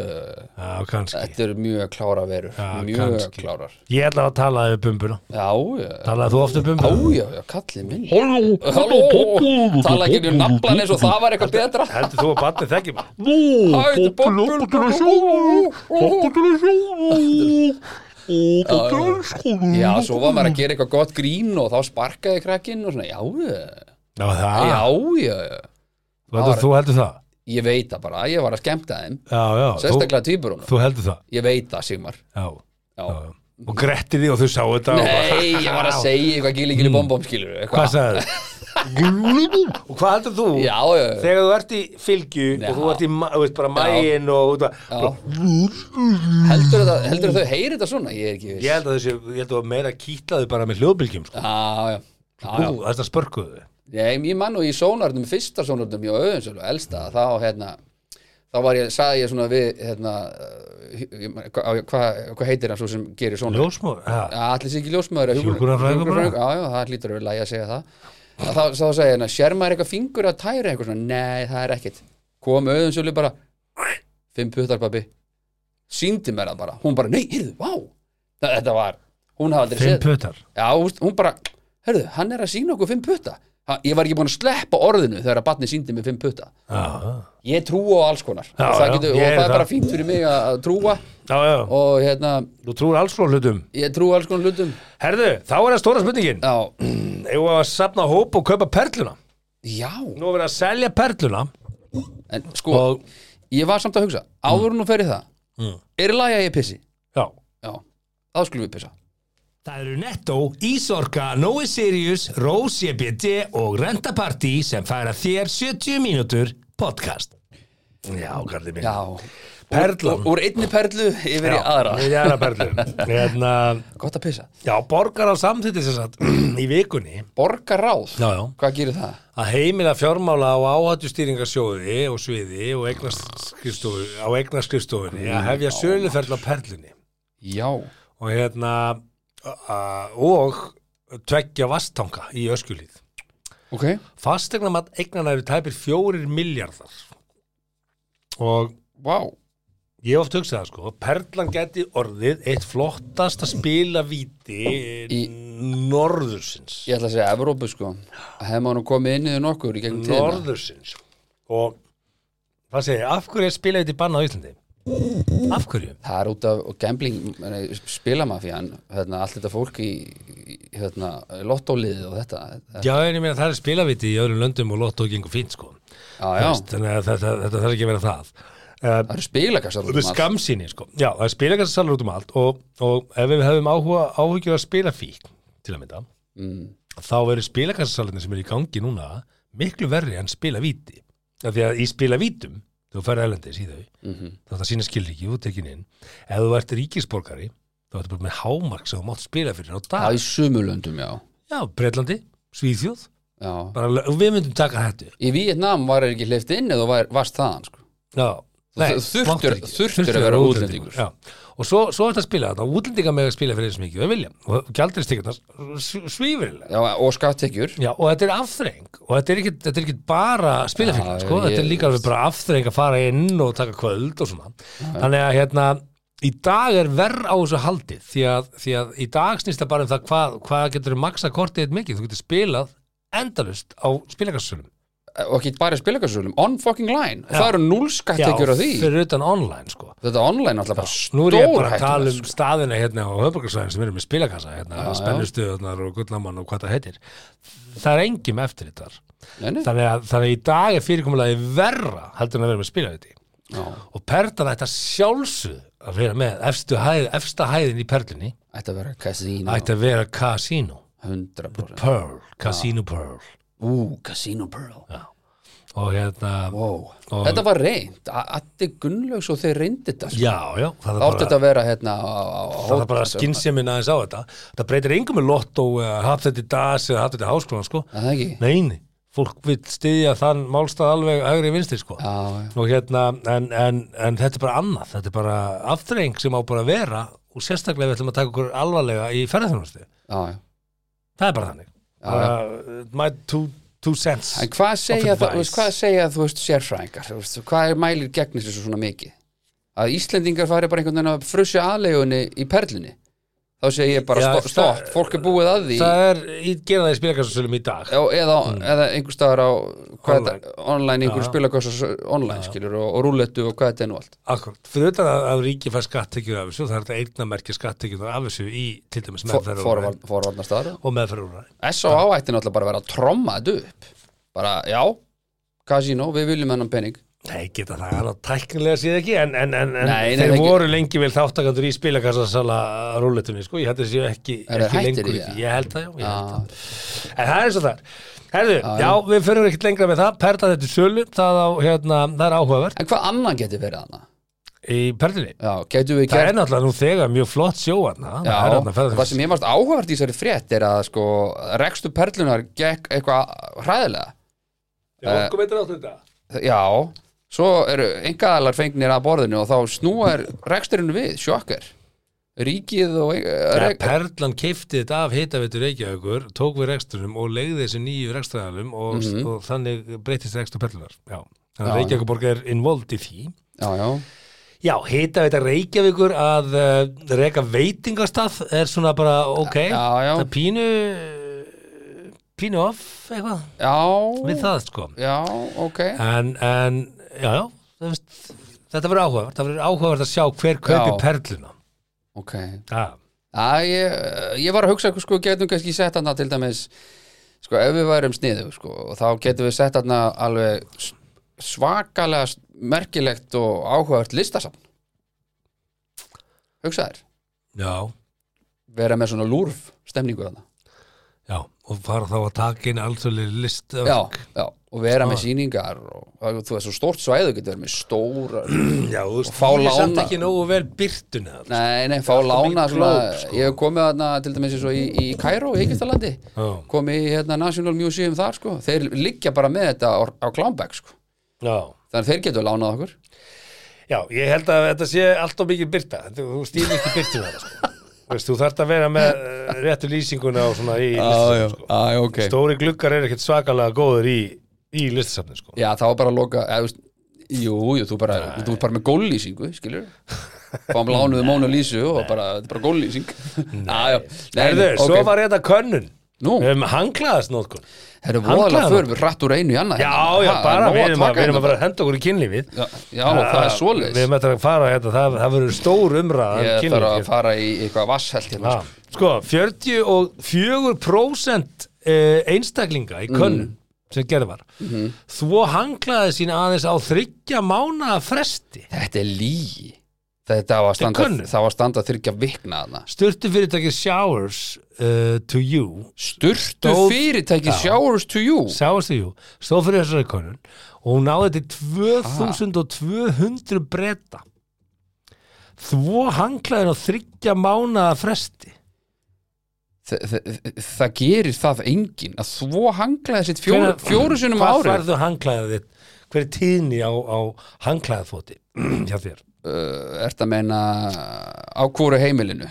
B: Já, kannski
A: þetta eru mjög klára verur
B: Já,
A: Mjög
B: kannski.
A: klárar
B: Ég ætla að tala um bumbuna
A: Já, já
B: Talaði þú oft um
A: Já,
B: bumbuna?
A: já, já, kallið minn Halló, halló Tala ekki um naflan eins og það var eitthvað betra
B: Heldur þú að barnið þekki maður?
A: Hæ, þetta er bobbul Já, svo var maður að gera eitthvað gott grín og þá sparkaði krakkinn og svona, já, já,
B: Já, það, já.
A: já, já, já.
B: Þú, þú heldur það?
A: Ég veit það bara, ég var að skemmta þeim
B: Já, já,
A: Sérstaklega týpurunum,
B: þú, þú heldur það?
A: ég veit það, Sigmar
B: Já,
A: Já.
B: já. Og grettir því og þú sáu þetta og bara-
A: Nei, ég var að segja eitthvað gili gili bombom skilur
B: Hmm. Hvað sagði þau? og hvað heldur þú?
A: Já, já, já,
B: Þegar þú ert í fylgju
A: Já.
B: og þú ert í, ma- þú veist, bara maginn og út að
A: já. Heldur þetta, heldur þau heyri þetta svona? Ég er ekki viss
B: Ég held að þessi, ég held að þú meira kýtlaði bara með hljóðbylgjum sko.
A: Já, já, já, já.
B: Ú, þess að spörkuðu þau
A: Nei, ég mann og í sónarnum, fyrsta sónarnum ég á auðvinsölu, elsta, þá hérna þá var ég, sagði ég svona við hérna, eh, ég man- hvað hva, hva heitir hann svo sem gerir sónar?
B: Ljósmóð, já,
A: Allir sig ekki ljósmaður eða hjúkrun-
B: Hjúkrunarfræðingur
A: hjúkrunarfræðingur? Já, já, það hlýtur að vera lægi að segja það Að þá, þá sagði hérna, sér maður eitthvað fingur að tæra eitthvað svona, nei, það er ekkit kom auðvinsölu bara fimm puttar pabbi síndi mér það bara, hún bara, nei, heyrðu, vá Þa- þetta var, hún hafði aldrei
B: fimm
A: séð
B: pötar
A: Já, þú veist, hún bara, herðu, hann er að sína okkur fimm putta. Ha, Ég var ekki búin að sleppa orðinu þegar að batni síndi með fimm putta.
B: Já,
A: Ég trúa á alls konar.
B: Já,
A: og það,
B: já,
A: getur, og
B: ég er
A: það er
B: það.
A: bara fínt fyrir mig að að trúa
B: já, já,
A: og hérna,
B: þú trúir alls frá hlutum
A: ég trúa alls konar hlutum.
B: Herðu, þá er það stóra spurningin
A: Já,
B: Eigum við að safna hóp og kaupa perluna
A: já,
B: Nú er verið að selja perluna
A: en sko,
B: Og-
A: ég var samt að hugsa, áður nú fyrir það,
B: Mm.
A: er í lagi að ég pissi?
B: Já
A: Já, þá skulum við pissa.
B: Það eru Netto, Ísorka, Nói Sirius, Rós EBD og Renta Party sem færa þér 70 mínútur podcast Já, kallið minn
A: Já,
B: Perlan.
A: Úr, úr einni perlu yfir í aðra.
B: Í aðra perlu Hérna,
A: Gott að pissa.
B: Já, borgar á samþýtti sem sagt í vikunni
A: Borga ráð,
B: Já, já.
A: hvað gerir það?
B: að heimila fjármála á áhættustýringarsjóði og sviði og eignaskrifstofu, á eignarskrifstofunni að hefja söluferðla perlunni
A: Já,
B: og hérna a- a- og tveggja vastanga í öskulíð.
A: ok,
B: Fastegnamat eignana eru tæpir fjórir miljardar og
A: vá.
B: ég hef oft hugsað það sko, perlan geti orðið eitt flottasta spilavíti
A: Í-
B: norðursins.
A: ég ætla að segja Evrópu sko hefði maður nú komið inn yfir nokkur í gegnum tíðina
B: norðursins og hvað segir, ég, af hverju er spilavíti banna á Íslandi? Af hverju?
A: það er út af og gambling meni, spilamafían, hérna, allt þetta fólk í í, hérna, lottóliðið og þetta já,
B: Já, en ég meina það er spilavíti í öðrum löndum og lotto gengur fínt sko
A: já,
B: Veist, þannig að þetta, þetta þarf ekki að vera það uh,
A: það eru spilakassar um
B: Það er skamsýni sko Já, það er spilakassasalur út um allt og, og ef við hefum áhuga, áhugjur að spila fík til að mynda
A: mm,
B: þá eru spilakassasalurinn sem eru í gangi núna miklu verri en spilavíti af því að í spilavítum þú færði elendis í þau
A: mhm.
B: þá það sína skilríki og tekin inn ef þú ert ríkisborgari þá ertu bara með hámark sem þú mátt spila fyrir á
A: það
B: dag
A: er í sumulöndum, já,
B: já, Breitlandi, Svíþjóð
A: já
B: bara, og við myndum taka þetta
A: í Vietnam var ekki hleyft inn eða þú var- varst þaðan sko
B: já,
A: þurftur-
B: máttir ekki.
A: þurftur að vera útlendingur.
B: já. og svo, svo er þetta að spila þetta útlendingar með að spila fyrir þessu mikið þau vilja og gjaldriðstekjarnar svífurilega
A: já, og skattekjur
B: Já, og þetta er afþreng og þetta er ekki, þetta er ekki bara spilafíkn
A: Já,
B: sko, þetta er
A: ég-
B: líka alveg bara afþreng að fara inn og taka kvöld og svona þannig að hérna, í dag er verð á þessu haldið því að, því að í dag snýst það bara um það hvað, hvað getur þú maksa kortið þitt mikið, þú getur spilað endalust á spilakarsölum
A: og ekki bara í spilakassarölum, on fucking line það eru núl skattekjur á því
B: fyrir utan online sko
A: þetta online alltaf bara
B: Nú er ég bara að tala um
A: stórhættulegt sko.
B: staðina hérna á höfbrukarsvæðin sem eru með spilakassa hérna, spennustuðunar og gullamann og hvað það heitir Það er engim eftir þetta
A: Nei, nei,
B: þannig að, þannig að í dag er fyrirkomulagi verra heldur en að vera með spilaviti
A: já.
B: og perlan ætti að sjálfsög að vera með efstu hæð, efsta hæðin í perlunni
A: Ætti að vera casino
B: ætti að vera casino
A: 100%
B: pearl, casino pearl
A: Ú, Casino Pearl
B: og hérna,
A: wow.
B: Og-
A: Þetta var reynd A- Addi Gunnlaugs og þeir reyndi þetta sko.
B: já, já það
A: Það átti
B: er
A: þetta
B: bara,
A: að vera hérna á, á, á,
B: það er bara skinsemin aðeins á þetta það breytir engum með lotto eða haft þetta í das eða haft þetta í háskólan sko
A: Það ekki Já,
B: neini, fólk vil styðja þann málstað alveg agri vinstri sko
A: já.
B: og hérna, en, en, en þetta er bara annað, þetta er bara aftreng sem á bara að vera og sérstaklega við ætlum að taka okkur alvarlega í ferðarþjónustu
A: já, já
B: það er bara þannig uh, my two, two cents
A: En hvað segja,
B: Of
A: það, þú
B: advice.
A: veist, hvað segja þú veist sérfræðingar, þú veist, hvað er mælir gegn þessu svona mikið? Að Íslendingar fari bara einhvern veginn að frusja aðlegunni í perlunni, þá segi ég bara
B: Já,
A: stopp,
B: það-
A: stopp, fólk er búið að því
B: það er, ég gera það í spilakarsasölum í dag
A: Já, eða, eða einhver staðar á hvað
B: Online.
A: þetta, online, einhver
B: Já.
A: spilakossas online skilur og, og rúletu og hvað þetta er nú allt
B: Akkurat, fyrir utan að, að ríki fær skattekjur af þessu, það er þetta eignamerki skattekjur af þessu í til dæmis meðferðarúræði
A: Forvarn- forvarnarstaðar
B: og meðferðarúræði.
A: S.O.A. ætti náttúrulega bara að vera að tromma þetta upp bara, já, kasínó, við viljum hennan pening
B: Nei, geta það, það er tæknilega síð ekki, en, en, en, en
A: Nei, nei,
B: þeir
A: það ekki-
B: voru lengi vel þáttakandur í spilakassasala rúletunni, sko, ég held þessi ekki,
A: Eru þeir
B: ekki
A: hættir
B: lengur í
A: í
B: því,
A: það? Ah.
B: ég held það, já, ég held
A: Já.
B: það. En það er eins og það er. Herðu, já, við förum ekkert lengra með það, perla þetta í sölu, það, á, hérna, það er áhugavert
A: En hvað annan getur verið hana?
B: í perlinni.
A: Já, getur við
B: Það
A: gert
B: er náttúrulega nú þegar mjög flott sjóarna,
A: Já,
B: það er náttúrulega
A: það sem ég varst áhugavert í þessari frétt er að sko, rekstu perlunar gekk eitthvað hræðilega Já, svo eru engaðalar fengnir að borðinu og þá snúar reksturinn við, sjokkar Ríkið og eh,
B: Ja,
A: ja,
B: Perlan keifti þetta af hitaveitur Reykjavíkur, tók við rekstrunum og legði þessu nýju rekstraðalum og, og þannig breytist rekstur Perlunar. Já, þannig að
A: Mhm. Já.
B: Reykjavíkurborg er involved í því.
A: Já, já,
B: Já, hitaveita Reykjavíkur að uh, reka veitingastað er svona bara ok,
A: Já, já.
B: það er pínu, eh, pínu off eitthvað við
A: já
B: það sko.
A: Já, ok
B: En, en já, já, þú veist, þetta verður áhugavert, það verður áhugavert að sjá hver
A: Já.
B: kaupi Perluna.
A: Ok,
B: Já,
A: að ég, ég var að hugsa sko, getum kannski sett hana til dæmis sko, ef við værum sniðu sko, og þá getum við sett hana alveg s- svakalega s- merkilegt og áhugavert listasafn Hugsaðir,
B: já.
A: vera með svona lúrf stemningu þarna
B: Já, og fara þá að taka inn alþjóðlega list
A: já, já, og vera með sýningar og, og þú veist, svo stórt svæðu getur verið með stóra
B: já þú veist,
A: fá
B: ég er samt
A: lána.
B: ekki nógu vel byrtuna
A: nei, nei, fá lána
B: mikið
A: svona,
B: glóp, sko.
A: ég hef komið þarna til dæmis eins og í, í Kairó, í Egyptalandi
B: Já,
A: komið í hérna, National Museum þar sko. þeir liggja bara með þetta á, á Klámbæk sko.
B: já
A: þannig að þeir getur lánað okkur
B: Já, ég held að þetta sé allt of mikið byrta Þetta- Þú stýr ekki byrtuna það sko. Þú veist, Þú þarft að vera með eh, réttu lýsinguna og svona í listasafni sko.
A: já, Ah, ok
B: Stóri gluggar er ekkert svakalega góður í, í listasafni sko.
A: já, þá er bara að loka eða, þú veist, jú, jú, þú bara, þú ert bara með góllýsingu skilur fáum lánuðu Mónu Lísu og bara, þetta er bara góllýsing já, já, Nei,
B: Herðu,
A: nei, ok.
B: svo var þetta könnun
A: Nú.
B: um hanglaðasnótkun
A: Herru,
B: Handklæðanótt.
A: voðalega förum við rætt úr einu í annað
B: Já,
A: hérna.
B: já,
A: Ha,
B: bara
A: nóg
B: við erum að,
A: taka
B: við erum
A: hérna
B: að fara að henda okkur í kynlífið
A: Já, já það er svoleiðis
B: Við erum eftir að fara hérna, það, það verður stór umræða um
A: Ég
B: kynlíf
A: þarf
B: hér.
A: að fara í eitthvað vasshelt hérna
B: Já, sko, 44% eh, einstaklinga í könnun
A: Mm.
B: sem gerð var
A: Mhm.
B: þvó hanglaði sín aðeins á þryggja mánaða fresti
A: Þetta er lí Þetta var að standa,
B: kunnu.
A: það var að standa þyrkja vikna þarna
B: styrtu fyrirtæki Showers uh, to you
A: Sturtu
B: Stóð-
A: fyrirtæki
B: Já.
A: Showers to you
B: Showers to you, stóð fyrir þessari könnun og hún náði til 2200 bretta þvó hanglaðin á þryggja mánaða fresti
A: Þa, það, það gerir það engin að þvó hanglaði sitt fjóru,
B: Hvenær-
A: fjóru sinnum
B: hvað
A: ári
B: færðu hanglaðið þitt hver er tíðni á, á hanglaðafóti hjá þér
A: Ert að meina á hvóru heimilinu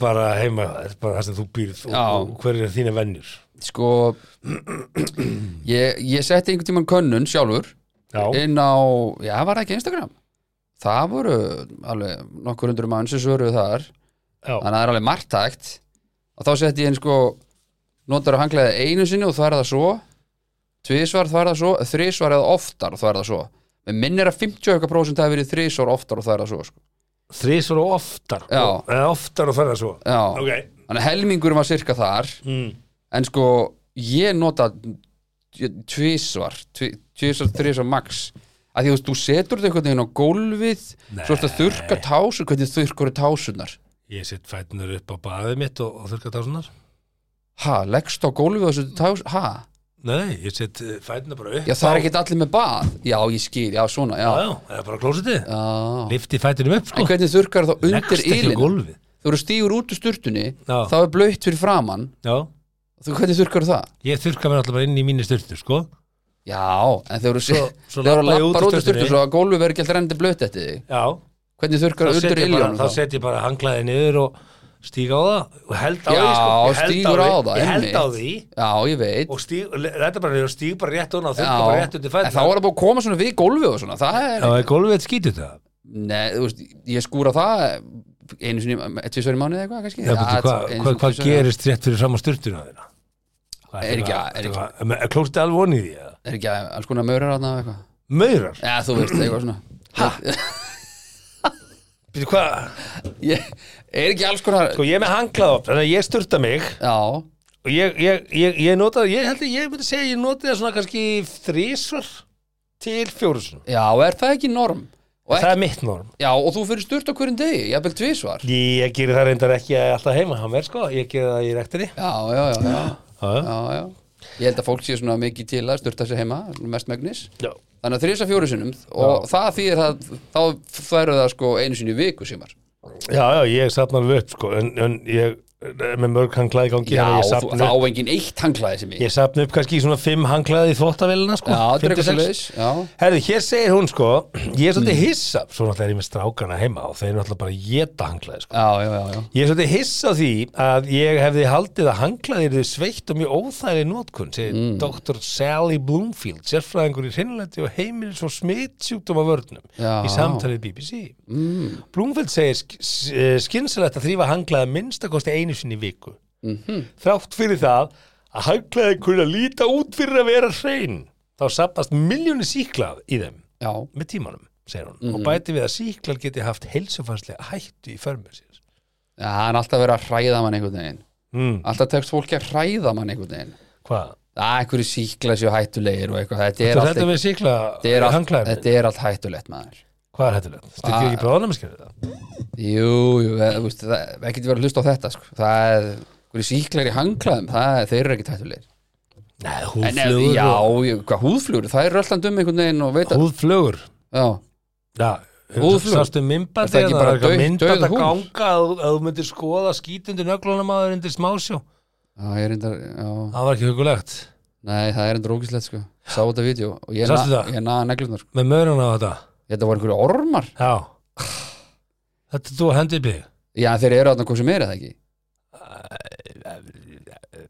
B: bara heima, það er bara það sem þú býrð og,
A: Já.
B: og hver er þína vennjur
A: Sko Ég, ég setti einhvern tímann könnun sjálfur
B: já,
A: inn á, já, var það ekki Instagram það voru alveg nokkur hundur mann sem svöruðu þar
B: já,
A: þannig að það er alveg margtækt og þá setti ég inn sko notar að hanglaði einu sinni og það er það svo tvisvar það er það svo þrisvar eða oftar og það er það svo með minnir að 50% hafi verið þrisvar oftar og það er það svo sko.
B: þrísvar og oftar
A: Já.
B: og, eða oftar og það er svo
A: já,
B: ok,
A: þannig að helmingur var cirka þar
B: mm.
A: en sko ég nota ég- tvisvar tvi- tvisvar, þrisvar max að því þú veist, þú setur þetta einhvern veginn á gólfið svo ertu að þurrka tásur hvernig þurrkur tásunar
B: ég sitt fætnur upp á baðið mitt og, og þurrka tásunar
A: ha, leggst á gólfið og þessu tás ha,
B: nei, ég sitt fætnur bara upp
A: já
B: á-
A: það er ekkert allir með bað já, ég skil, já svona,
B: já,
A: já,
B: já, eða bara klósitið
A: já.
B: lifti fætnum upp
A: en
B: sko,
A: hvernig þurrkar þá undir
B: leggst ekki á
A: ylinn
B: gólfið
A: þú eru stígur út úr sturtunni
B: Já.
A: þá er blöytt fyrir framann
B: já,
A: þú, hvernig þurrkar það?
B: ég þurrka mér alltaf bara inn í mínu styrtu sko,
A: já, en þegar þú
B: Svo- svo
A: þegar þú
B: labba ég út úr
A: lappar út úr
B: sturtunni.
A: sturtunni svo að gólfið verður ekki alltaf rendi blöytt eftir þig
B: já
A: hvernig
B: þá
A: þurrkar undir
B: set ég bara,
A: yljónum
B: þá set ég bara hanglaðið niður og stíg á það og held á
A: Já,
B: því sko. Ég held
A: stígur á
B: því,
A: það,
B: ég held á
A: einmitt.
B: því
A: Já, ég veit
B: og stíg, þetta er bara og stíg bara rétt hún og þurrka bara
A: Já,
B: rétt undir
A: en þá
B: fæðna
A: er það búið að koma svona við gólfið og svona Það er,
B: Já, er golfið skýtur það?
A: Nei, þú veist, ég skúra það einu sinni, tvisvar í mánuði eitthvað kannski
B: Já, betur, hvað hva,
A: einu
B: hva
A: sinni, tvisvar, já.
B: gerist rétt fyrir fram á styrtuna þeirna? Hvað,
A: Er ekki-
B: þetta
A: er
B: var-
A: ekki-
B: þetta var- er klósti alveg vonið því? eða?
A: Er ekki alls konar maurar aðna og eitthvað
B: Maurar?
A: Já, þú veist, eitthvað svona
B: Býtu hvað?
A: ég, Er ekki alls konar
B: Sko, ég er með hanglað upp, þannig að ég styrta mig
A: Já,
B: og ég, ég, ég, ég nota, ég held að ég myndi segja að ég noti það svona kannski þrísvar til fjórusun.
A: já, er það ekki norm? Og
B: Það
A: ekki,
B: er mitt norm.
A: já, og þú fyrir sturt á hverjum degi, ég hafði tvisvar Já,
B: Ég gerir það reyndar ekki alltaf heima, hann verð sko, ég gerir það í rektinni.
A: já, já, já,
B: Já,
A: já, já. Ég held að fólk sé svona mikið til að sturta sig heima, mestmegnis
B: já.
A: Þannig að þrisa fjóru sinnum og það þýðir að þá færu það sko einu sinni í viku símar
B: Já, já, ég sapna alveg upp sko, en, en ég er með mörg hanglaði gangi,
A: Já,
B: þannig að ég
A: þú,
B: sapna
A: þá
B: upp.
A: engin eitt hanglaði sem ég
B: Ég sapna upp kannski í svona fimm hanglaði í þvóttavélina sko.
A: Já, það er
B: 56.
A: eitthvað svoleiðis, já Mm.
B: Herði, hér segir hún sko, ég er svolítið hissa, svo náttúrulega er ég með strákana heima og þeir eru náttúrulega bara að geta hanglaði sko.
A: Já, já, já, já
B: Ég er svolítið hissa á því að ég hefði haldið að hanglaði eru sveitt og mjög óþæri nótkunn, segir Dr. Sally Bloomfield, sérfræðingur í hreinlendi og heimilis og smitsjúkdóma vörnum
A: Já.
B: í samtalið BBC. Mm. Bloomfield segir sk skynsalegt að þrýfa hanglaði minnstakosti einu sinni í viku. -hmm. Þrátt fyrir það að hanglaði kunna líta út fyrir að vera hrein, þá sapnast miljóni síklað í þeim
A: Já,
B: með tímanum, segir hún, og bæti við að síklar geti haft heilsufarslega hættu í förmur sér.
A: Já, það er alltaf verið að hræða mann einhvern veginn
B: Mm.
A: Alltaf tekst fólki að hræða mann einhvern veginn
B: Hvað?
A: Það er einhverju síkla séu hættulegir og eitthvað Þetta er
B: Þú
A: allt,
B: hættu
A: þetta
B: við síkla
A: er allt,
B: hanglaðin?
A: þetta er allt hættulegt maður
B: Hvað er hættulegt? Styrkir
A: Ah.
B: ekki bráðnæmiskerfið það?
A: Jú, jú, það, þú veist, það, það getur verið að hlusta á þetta sko. Það er, hverju síklar í hanglaðum það, þeir eru ekkert hættulegir
B: Nei,
A: En ef,
B: húðflögur
A: já,
B: og-
A: ég- hvað húðflugur, það er rölland um einhvern veginn og veit að,
B: Húðflögur
A: já,
B: Já,
A: Húðflögur.
B: sástu
A: Er það
B: mymbandi
A: ekki
B: Það
A: bara
B: er ekki
A: dauð-
B: mynd að
A: dauð
B: það
A: húð?
B: ganga að þú- að þú myndir skoða skítundu nöglunum að það er undir smásjó
A: já, ég er reyndar, já,
B: Það var ekki hugulegt
A: nei, það er reyndar ógislegt, sko, sá þetta vídeo og ég
B: Sástu
A: na-
B: það?
A: ég naða neglunar, sko,
B: Með mörun á þetta
A: þetta voru einhverju ormar,
B: Já Þetta er þú að hendi upp í þig
A: já, þeir eru þarna hvað sem er, eða ekki?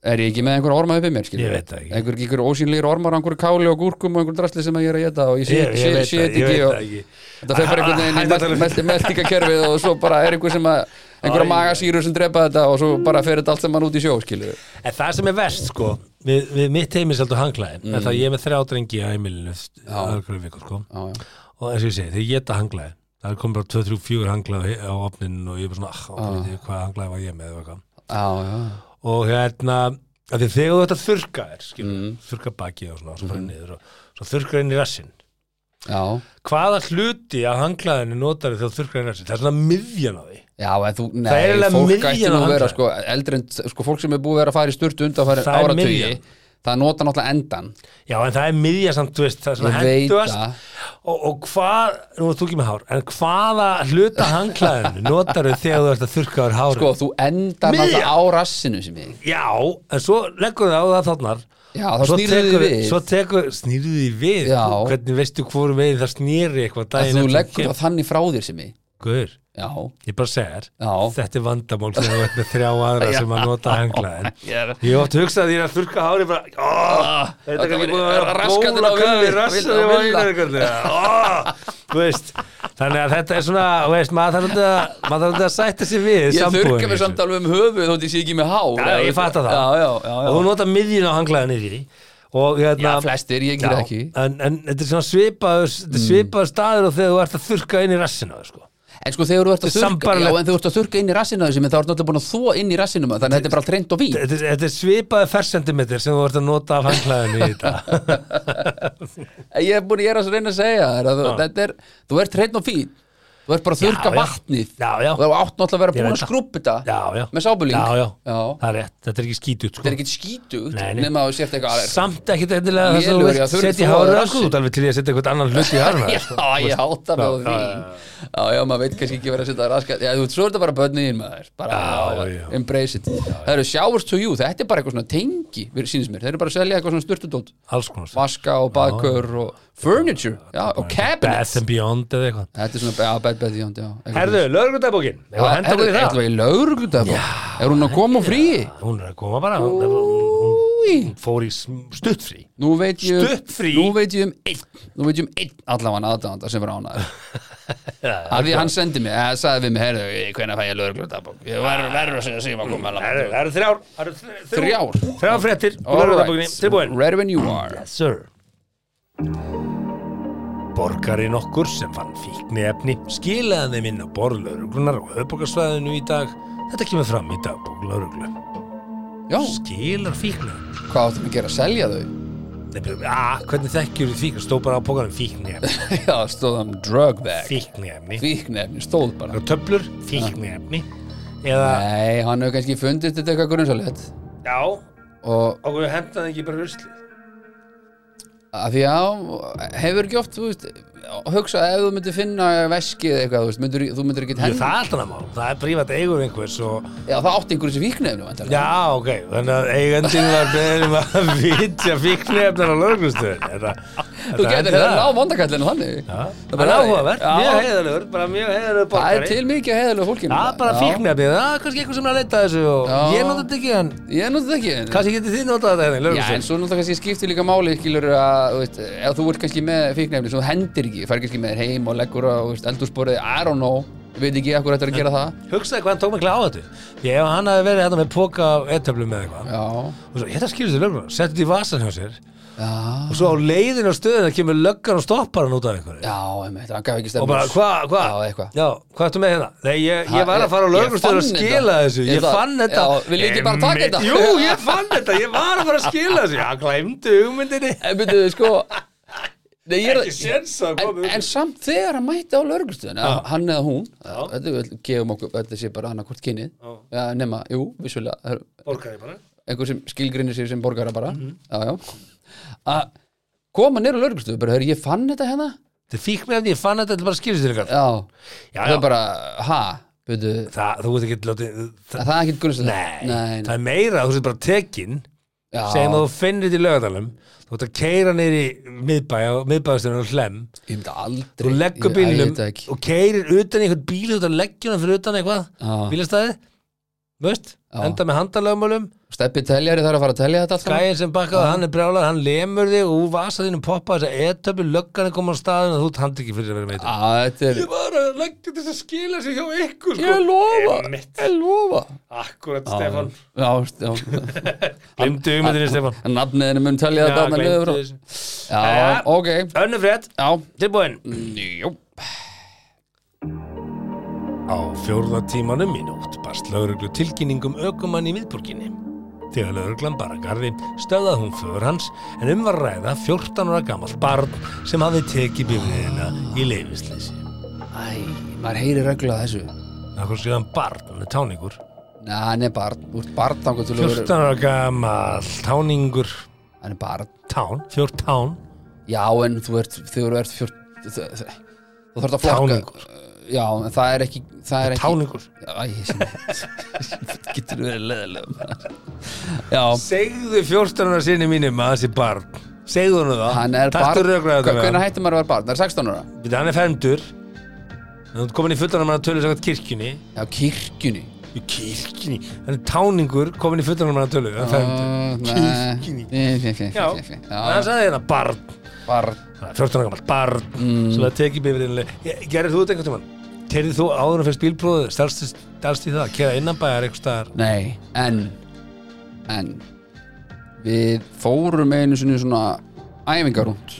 A: Er ég ekki með einhverju orma uppið mér, skilur?
B: Ég veit það ekki.
A: Einhver, einhver ósýnlegir ormar, einhverju káli og gúrkum og einhverju drasli sem að ég er að geta og ég sé
B: Ég ég
A: sé-
B: veit
A: sé
B: það, ég
A: þetta ekki
B: veit
A: og
B: það ekki
A: þetta fer bara einhvern
B: Hæ, hæ, hæ,
A: veginn í
B: hæ,
A: melti- meltingakerfið og svo bara er einhver sem að einhverja
B: um Æ.
A: magasýru sem drepa þetta og svo bara fer þetta allt saman út í sjó, skilur?
B: En það sem er verst sko Við, við mitt heimis heldur hanglaði mm. Það ég er með þrjá drengi á heimilinu Örgur vikur sko
A: Já, já.
B: og eins og ég segi, þegar ég geta hanglaði það kom bara 2-3-4 hanglaði á opnin og ég bara svona, ah, ah. Veit, hvað hanglaði var ég með og, eitthvað.
A: Já, já,
B: og hérna, af því þegar þú þetta þurrka er, skilur, mm. þurrka baki og svona, svo bara niður og svo þurrka inn í rassin
A: já
B: hvaða hluti af hanglaðinu notar þegar þú þurrkar inn í rassin, það er svona miðjan á því
A: Já, en þú, nei,
B: Það er eiginlega
A: fólk
B: miðjan
A: ætti
B: á
A: nú að vera
B: handklæðinu.
A: sko, eldri en, sko, fólk sem er búið að vera að fara í sturtu
B: Það
A: undanfæri
B: er
A: áratugi
B: miðjan.
A: það nota náttúrulega endan
B: já, en það er miðja samt, þú veist, það er svona
A: Ég veit
B: hendugast
A: það.
B: og, og hvað, nú er þú ekki með hár en hvaða hluta af hanglaðinu notar þegar þú ert að þurrka úr hárið
A: sko, þú endar
B: Miðjan.
A: náttúrulega á rassinu sem ég
B: já, en svo leggur það á það þarnar
A: Já, þá
B: svo
A: snýrðu
B: tekur,
A: þið við
B: svo tekur, snýrðu því við
A: Já.
B: hvernig veistu hvorum veginn það snýri eitthvað
A: að
B: daginn
A: þú
B: eftir
A: leggur
B: kem-
A: það þannig frá þér sem ég
B: Guður,
A: Já,
B: ég bara segir
A: Já.
B: þetta er vandamál þegar þú ert með þrjá aðra sem að nota hanglaðin
A: Já.
B: ég hef oft hugsað að ég er að þurka hári bara, oh, þetta er
A: Ah, þetta
B: ekki
A: var-
B: búin að vera
A: raskandi
B: bóla
A: á
B: gulli
A: villa-
B: rassin
A: á
B: og
A: villa.
B: vila veist þannig að þetta er svona, þú veist, maður þarf þetta maður þarf þetta að sætta sig við
A: ég
B: sambúðina
A: þurrka
B: í
A: mér
B: þessu.
A: samt alveg um höfuð þótt ég sé ekki með há
B: Já, ég fatta það
A: Já, já, já,
B: Og þú
A: já,
B: nota miðjun á hanglaðan yfir í og hérna
A: já flestir, ég
B: Já,
A: gerir ekki
B: en, en þetta er svona svipaður, mm. svipaður staður og þegar þú ert að þurrka inn í rassinu sko.
A: En sko þegar þú ert
B: Þetta
A: að
B: er
A: þurrka, já,
B: sambarlegt.
A: en þú ert að þurrka inn í rassinu á þessu, menn þá ert náttúrulega búin að þvo inn í rassinu maður, þannig að þetta er bara allt reynd og vín
B: þetta, er- þetta er svipaður fersentimeter sem þú ert að nota af hanglaðinu í þetta
A: ég er, búin, ég er að reyna að segja þér að þú- þetta er, þú ert hreinn og fín þú ert bara að þurka
B: Já, já.
A: vatnið
B: Já, já.
A: þú átt náttúrulega að vera
B: Ég
A: búin
B: veit
A: að
B: það.
A: skrúpa þetta
B: já, já.
A: með sábulíng
B: já, já.
A: þetta
B: það er rétt, þetta er ekki skítut sko.
A: er ekkit skítugt
B: Nei, nei.
A: nema að þú sért eitthvað að-
B: samt ekki endilega það sem þú
A: Lélur, já,
B: vilt
A: þú-
B: setja í
A: þú-
B: hárið
A: þú-
B: sko, þú ert alveg til ég að setja eitthvað annan hlut í hárið
A: Já, ég hátta mig á
B: sko. Já,
A: því
B: já,
A: Já, já, maður veit kannski ekki verið að setja raskat Já, þú veist, svo er þetta bara bönniðin maður bara,
B: Já, já.
A: Embrace it Það eru showers to you, þetta er bara eitthvað svona tengi við- sýnist mér, þeir eru bara að selja eitthvað svona styrtudót
B: alls konar sko.
A: Vaska og bakur og furniture Já, og
B: Bath
A: cabinets
B: and Beyond eða eitthvað
A: Þetta er svona, já, Bad Bad Beyond, já eitthvað
B: Herðu, lögregludabókin
A: Já,
B: Hefur henda okkur í það
A: Ætlum við í lauruglutabók? Er hún að koma á fríi?
B: Hún er að koma bara Hún, hún,
A: Úi,
B: hún fór í sm- stuttfrí
A: nú veit ég
B: Stuttfrí?
A: Nú veit ég um einn Nú veit ég um einn allavega aðdæðanda sem var ánaður
B: Það
A: Af því hann sendi mig, eða sagði við mig Herðu, ég- hvenær fæ ég lauruglutabók? Ég verður verður að segja sig að koma
B: eru það eru þrjár það eru þr- þrjú-
A: Þrjár.
B: Þrjár fréttir úr lögregludabókinni Tilbúin
A: Ready when you are
B: Yes, sir. Borgarinn okkur sem fann fíkniefni skilaði þeim inn á borð lauruglunar á höfbókarsvæðinu í dag. Þetta kemur fram í dagbók lauruglu.
A: Já,
B: Skilar fíkniefni.
A: hvað áttum við að gera? Selja þau?
B: Nei, byrju, ah, hvernig þekkjur þið fíkniefni? Stóð bara á bókarinn fíkniefni.
A: Já, stóðum drug bag
B: Fíkniefni.
A: Fíknefni, stóð bara
B: Og töflur? Fíkniefni. Eða,
A: Nei, hann hefur kannski fundist þetta eitthvað grunnsalett
B: já,
A: og
B: okkur hendaði ekki bara ruslið.
A: að því að hefur ekki oft, þú veist hugsa ef þú myndir finna veskið eða eitthvað, þú veist, myndir, þú myndir ekki
B: Jú,
A: henni
B: það er alltaf mál. Það er prívat eigur einhvers og
A: Já, það átti einhverjum sem fíknefni
B: Já, ok, þannig að eigandinn var beðin um að vitja fíknefnar á lögumstöðun
A: Þú getur hefur náð vondakallinu þannig
B: Það
A: er
B: er
A: bara
B: áhugavert,
A: Já.
B: mjög heiðalegur, bara mjög heiðalegur
A: Það
B: borgari
A: er til mikið að heiðalega fólkinu
B: Já, bara fíknefni, það er kannski eitthvað sem er að leita að þessu og
A: Já.
B: ég nota þetta ekki en
A: Ég nota þetta ekki en-
B: kannski getið þið notað þetta hérna í
A: Já, en
B: lögumstöðun
A: svo náttúrulega kannski skiptir líka máli skilur að, þú veist, ef þú ert kannski með fíknefni sem þú hendir ekki, fær kannski með þér heim og leggur á þú veist, eldursporið, I don't know ég veit ekki akkur þetta er að gera það
B: Hugsaði hvað hann tók mikla á þetta Ég ef hann hafi verið hérna með póka af ettöflum eða eitthvað
A: Já,
B: og svo, þetta skilur þið lögumstöðun, settu þetta í vasan hjá sér
A: já,
B: og svo á leiðinu á stöðuna kemur löggan og stoppar hann út af einhverju
A: já, einmitt, hann gaf ekki
B: og
A: stefnus
B: bara, hvað, hvað,
A: Já, eitthvað.
B: já, hvað ertu með hérna? Nei, ég,
A: Ha,
B: ég var
A: ég-
B: að fara á
A: ég
B: lögumstöður og
A: fann
B: skila
A: þetta.
B: þessu, ég,
A: Ég það-
B: fann þetta
A: Já, vil ég ekki bara taka
B: Einmitt.
A: þetta?
B: Jú, ég fann þetta, ég var að fara að skila þessu, já, glæmdu hugmyndinni
A: En byrjuðu, sko Nei, ég er
B: Ekki séns að það
A: en,
B: komi upp.
A: en samt þegar hann mætti á lauruglustöðun Hann eða hún, þetta við gefum okkur Þetta sé bara annað hvort kynið
B: Já.
A: ja, Nema, jú, vissulega það er
B: Borgaði bara
A: Einhver sem skilgrinir sig sem borgara bara
B: Mhm.
A: Já, já Að koma nýr á lauruglustöðu Bara, hörru, ég fann þetta hérna
B: Þetta fík mér ég fann þetta, þetta er bara að skila þessu ykkur
A: Já,
B: Já, já.
A: það er bara, ha, byrjuðu
B: Það, þú veit ekki, látið það-
A: Það það er ekkert gunnst
B: Nei,
A: nei,
B: það er meira að þú sér bara tekin
A: já,
B: segjum að þú finnir þetta í lögadalum þú ert að keira niður í miðbæ á miðbæðastunum og hlem
A: Ég myndi aldrei
B: þú leggur
A: ég- æ, ég
B: bílnum
A: veit það ekki.
B: og keirir utan í einhvern bíl þú ert að leggja hann fyrir utan
A: Já.
B: eitthvað bílastæði, veist,
A: Já.
B: enda með handalögmálum
A: Steppi teljari þarf að fara að telja þetta allt saman.
B: gæðin sem bakkaði, hann er brjálar, hann lemur þig og úr vasa þínu poppa þess að etöpu löggan er koma á staðin og þú ert handtekinn fyrir að vera meitur
A: Á, þetta er
B: ég var að leggja þess að skila sig hjá ykkur sko.
A: Ég lofa, ég lofa
B: akkurat Stefan
A: Já, já
B: glimtu hugmyndinni Stefan
A: Nafniðinu mun telja þetta þarna niður
B: gleymdu
A: og-
B: þessu.
A: Já,
B: Jæja.
A: ok
B: önnur frétt,
A: Já,
B: tilbúin
A: jú
B: Á fjórða tímanum í nótt barst lauruglu tilkynningum ökumann í miðburginni. Þegar lauruglan bara garði stöðað hún för hans en um var að ræða 14 ára gamall barn sem hafði tekið bifriðina í leifisleysi.
A: Æ, maður heyri regla af þessu
B: Nákvæm séðan barn, hann er táningur.
A: Næ, hann er barn, úr barn þangur til að
B: 14
A: vera
B: ára gamall táningur,
A: Hann er barn
B: tán, fjór tán,
A: Já, en þú ert, þegar þú ert fjör þ- þ- Þú þarf að flokka
B: Táningur.
A: Já, en það er ekki Það er ekki
B: táningur.
A: Æ, ég sem Getur verið leðilegum Já,
B: Segðu 14 ára sinni mínum að þessi barn. Segðu hann það.
A: hann er
B: Taktu rökraðu þetta með hann.
A: Hvernig hættum maður að vera barn? Það er 16 ára
B: Þetta hann er fermdur. Þú ert komin í fullan að manna tölu sagt kirkjunni.
A: Já, kirkjunni
B: Í kirkjunni, hann er táningur komin í fullunum hann tölu, hann
A: Ah,
B: fermdur kirkjunni, já, hann
A: Kirkjunni
B: sagði hérna barn
A: Barn
B: 14 ára gammal, barn,
A: Mm.
B: sem það tekið bifriðinlega, gerir þú þetta einhvern tímann? Kerðið þú áður en fyrst bílpróðu, stalst í það, kerða innanbæjar einhvers staðar
A: Nei, en En Við fórum einu sinni svona Æfingarúnd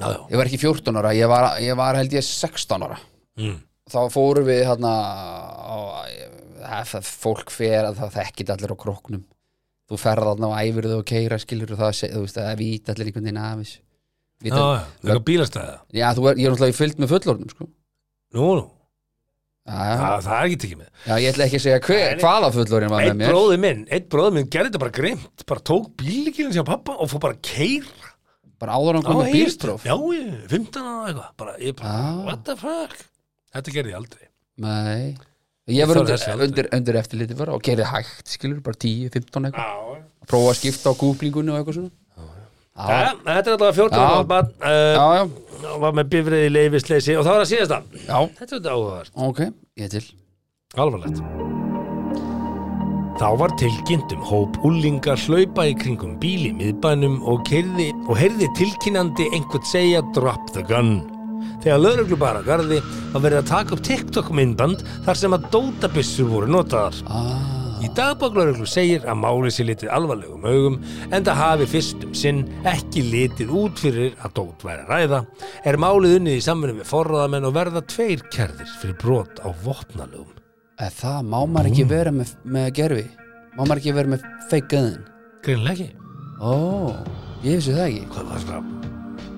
B: Já, já,
A: Ég var ekki 14 ára, ég var, ég var held ég 16 ára
B: Mm.
A: Þá fórum við hérna á, það, það Fólk fer að það þekkit allir á króknum Þú ferð þarna og æfir þau og keira skilur og það, se- þú veist, það vít allir einhvern veginn af þessu
B: já,
A: Vita-
B: já, eitthvað bílastæða
A: Já, þú er, ég er náttúrulega fyllt með fullorðnum sko.
B: Nú, nú,
A: já, já.
B: það, það er ekki tekið með
A: já, ég ætla ekki að segja hver, hvaða fullorðin var með
B: Eitt
A: mér
B: bróði minn, eitt bróði minn gerði þetta bara grimt, bara tók bílíkilin sem pappa og fór bara að keira
A: Bara áður hann kom með bílspróf
B: Já, ég, 15 ára eitthvað, bara, ég bara,
A: Ah.
B: what the fuck Þetta gerði ég aldrei
A: Nei Ég var
B: Þorði
A: undir,
B: þessi aldrei.
A: undir, undir eftirliti bara og gerði hægt, skilur, bara 10, 15 eitthvað
B: Já,
A: Prófa að skipta á kúklingunni og eitthvað svona
B: Ja, þetta er alltaf 14
A: Já.
B: ára barn uh,
A: já, já,
B: var með bifrið í leifisleysi og það var að síðast það
A: já,
B: Þetta er þetta áhugavert
A: ok, ég er til
B: Alvarlegt. Þá var tilkynnt um hóp úlingar hlaupa í kringum bíl í miðbænum og, keyrði, og heyrði tilkynandi einhvern segja drop the gun. Þegar lögreglu bara garði var verið að taka upp TikTok myndband þar sem að dótabissur voru notaðar.
A: ah,
B: Í dagbóklauruglu segir að máli sé litið alvarlegum augum en það hafi fyrst um sinn ekki litið út fyrir að dót væri að ræða er málið unnið í samfunni við forraðamenn og verða tveir kærðir fyrir brot á vopnalögum.
A: eða það má maður ekki vera með, með gerfi má maður ekki vera með fake gun
B: Greinlega ekki.
A: ó, ég vissi það ekki
B: Hvað var það?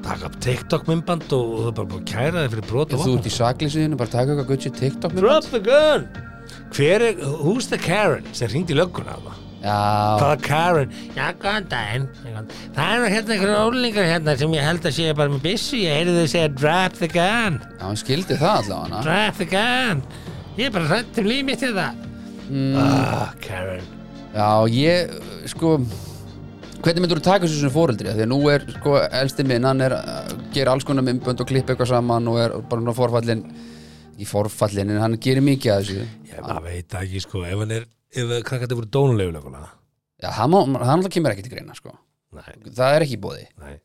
B: Taka upp TikTok myndband og, og það bara búið að kæra þig fyrir brot á
A: þú
B: vopnalögum.
A: ert í saklýsuðinu, bara taka eitthvað gutsi TikTok mynd.
B: Drop the gun! Hver er, who's the Karen sem hringdi í lögguna á það?
A: já,
B: Hvaða Karen? Já, góðan daginn. Góðan- Það eru hérna einhverja ólingar hérna sem ég held að sé bara með byssu. Ég heyrði þau segja drop the gun,
A: já, hann skildi það allavega hana
B: drop the gun. Ég er bara hrætt um límið til það. Mm. Ah, Karen.
A: já, ég, sko hvernig myndur þú taka þessu sem fóreldri því að nú er, sko, elsti minn hann er að gera alls konar myndbönd og klippa eitthvað saman og er bara svona forfallin í forfallin, en hann gerir mikið að þessu
B: Ég bara veit það ekki sko, ef hann er, ef krakkandi voru dónulegu löguna.
A: já, hann, má, hann alltaf kemur ekki til greina, sko
B: Nei,
A: það er ekki í bóði
B: nei.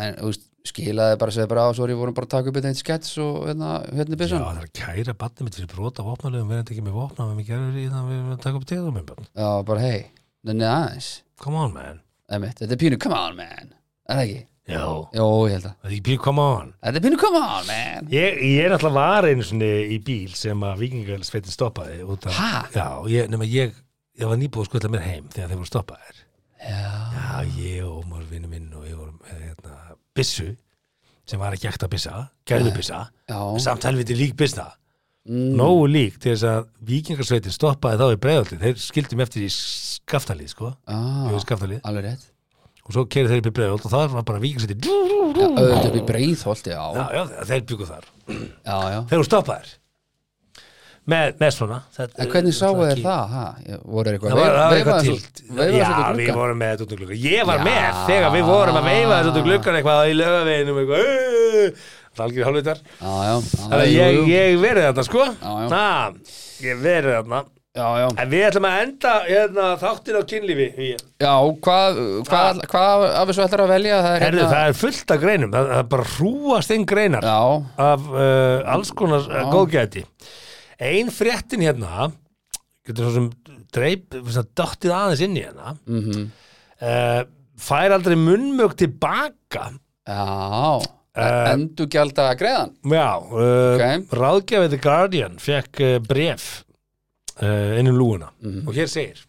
A: en þú veist, skilaði bara að segja bara á sorry, vorum bara að taka upp þetta eitt skets og hérna, hérna
B: Já,
A: byssan já.
B: það er að kæra barnið mitt fyrir brota vopnalögum, verðum þetta ekki með vopna, við erum ekki erfið í það, við erum að taka upp tegðum með barn.
A: bara hei, nenni aðeins
B: Come on, man.
A: Einmitt, þetta er pínu come on man er það ekki?
B: Já.
A: Jó, ég held að
B: Það er ekki bíl, come on.
A: þetta er pínu come on man
B: Ég, ég er alltaf var einu svona í bíl sem að vikingalsveitin stoppaði út af.
A: Ha?
B: Já, ég, nema ég, ég var nýbúið að skutla mér heim þegar þeir voru stoppaðir.
A: já,
B: Já, ég og Ómar vinnu minn og ég vorum með hérna, byssu sem var ekki ekta byssa, gerðu byssa,
A: já,
B: samt helviti lík byssa.
A: Mm.
B: Nógu lík til þess að vikingarsveitin stoppaði þá í breiðaldi. Þeir skildum eftir í skaftalið, sko.
A: Ah.
B: Jú,
A: já
B: skaftalið.
A: alveg rétt
B: og svo kerið þeir upp í breiðholt og það var bara vikingsætti já,
A: já, auðvitað upp í breiðholti, já,
B: já, þeir byggu þar
A: já, já
B: þeir voru stoppaðir með, með svona það,
A: en hvernig sáu þeir það, ha? Ég- voru þeir
B: Það var,
A: eitthvað
B: það var
A: veifa
B: eitthvað
A: þessu-
B: til
A: veifa
B: Já,
A: þessu út í
B: við
A: gluggann?
B: vorum með þetta út um gluggan Ég var
A: Já.
B: með þegar við vorum að veifa þetta út um gluggan eitthvað í lögaveginum eitthvað "Ey!" Það er algjör hálfvitar
A: já, já, já,
B: Þannig að
A: jú,
B: ég,
A: jú.
B: ég verið þarna sko
A: Já, já.
B: Na, Ég verið þarna
A: já, já,
B: En við ætlum að enda hérna, þáttin á kynlífi
A: já, hvað hvað hvað af þessu ætlar að velja það er
B: Herðu,
A: hérna-
B: það er fullt af greinum Það, það er bara hrúast inn greinar
A: já,
B: af uh, alls konar uh, góðgæti ein fréttin hérna getur svo sem dreip svona dottið aðeins inn í hérna mm fær aldrei munnmög tilbaka
A: Já,
B: Eh.
A: uh, endur gælda greiðan
B: já, uh,
A: Ok.
B: ráðgjafið The Guardian fekk uh, bref uh, innum lúuna og hér segir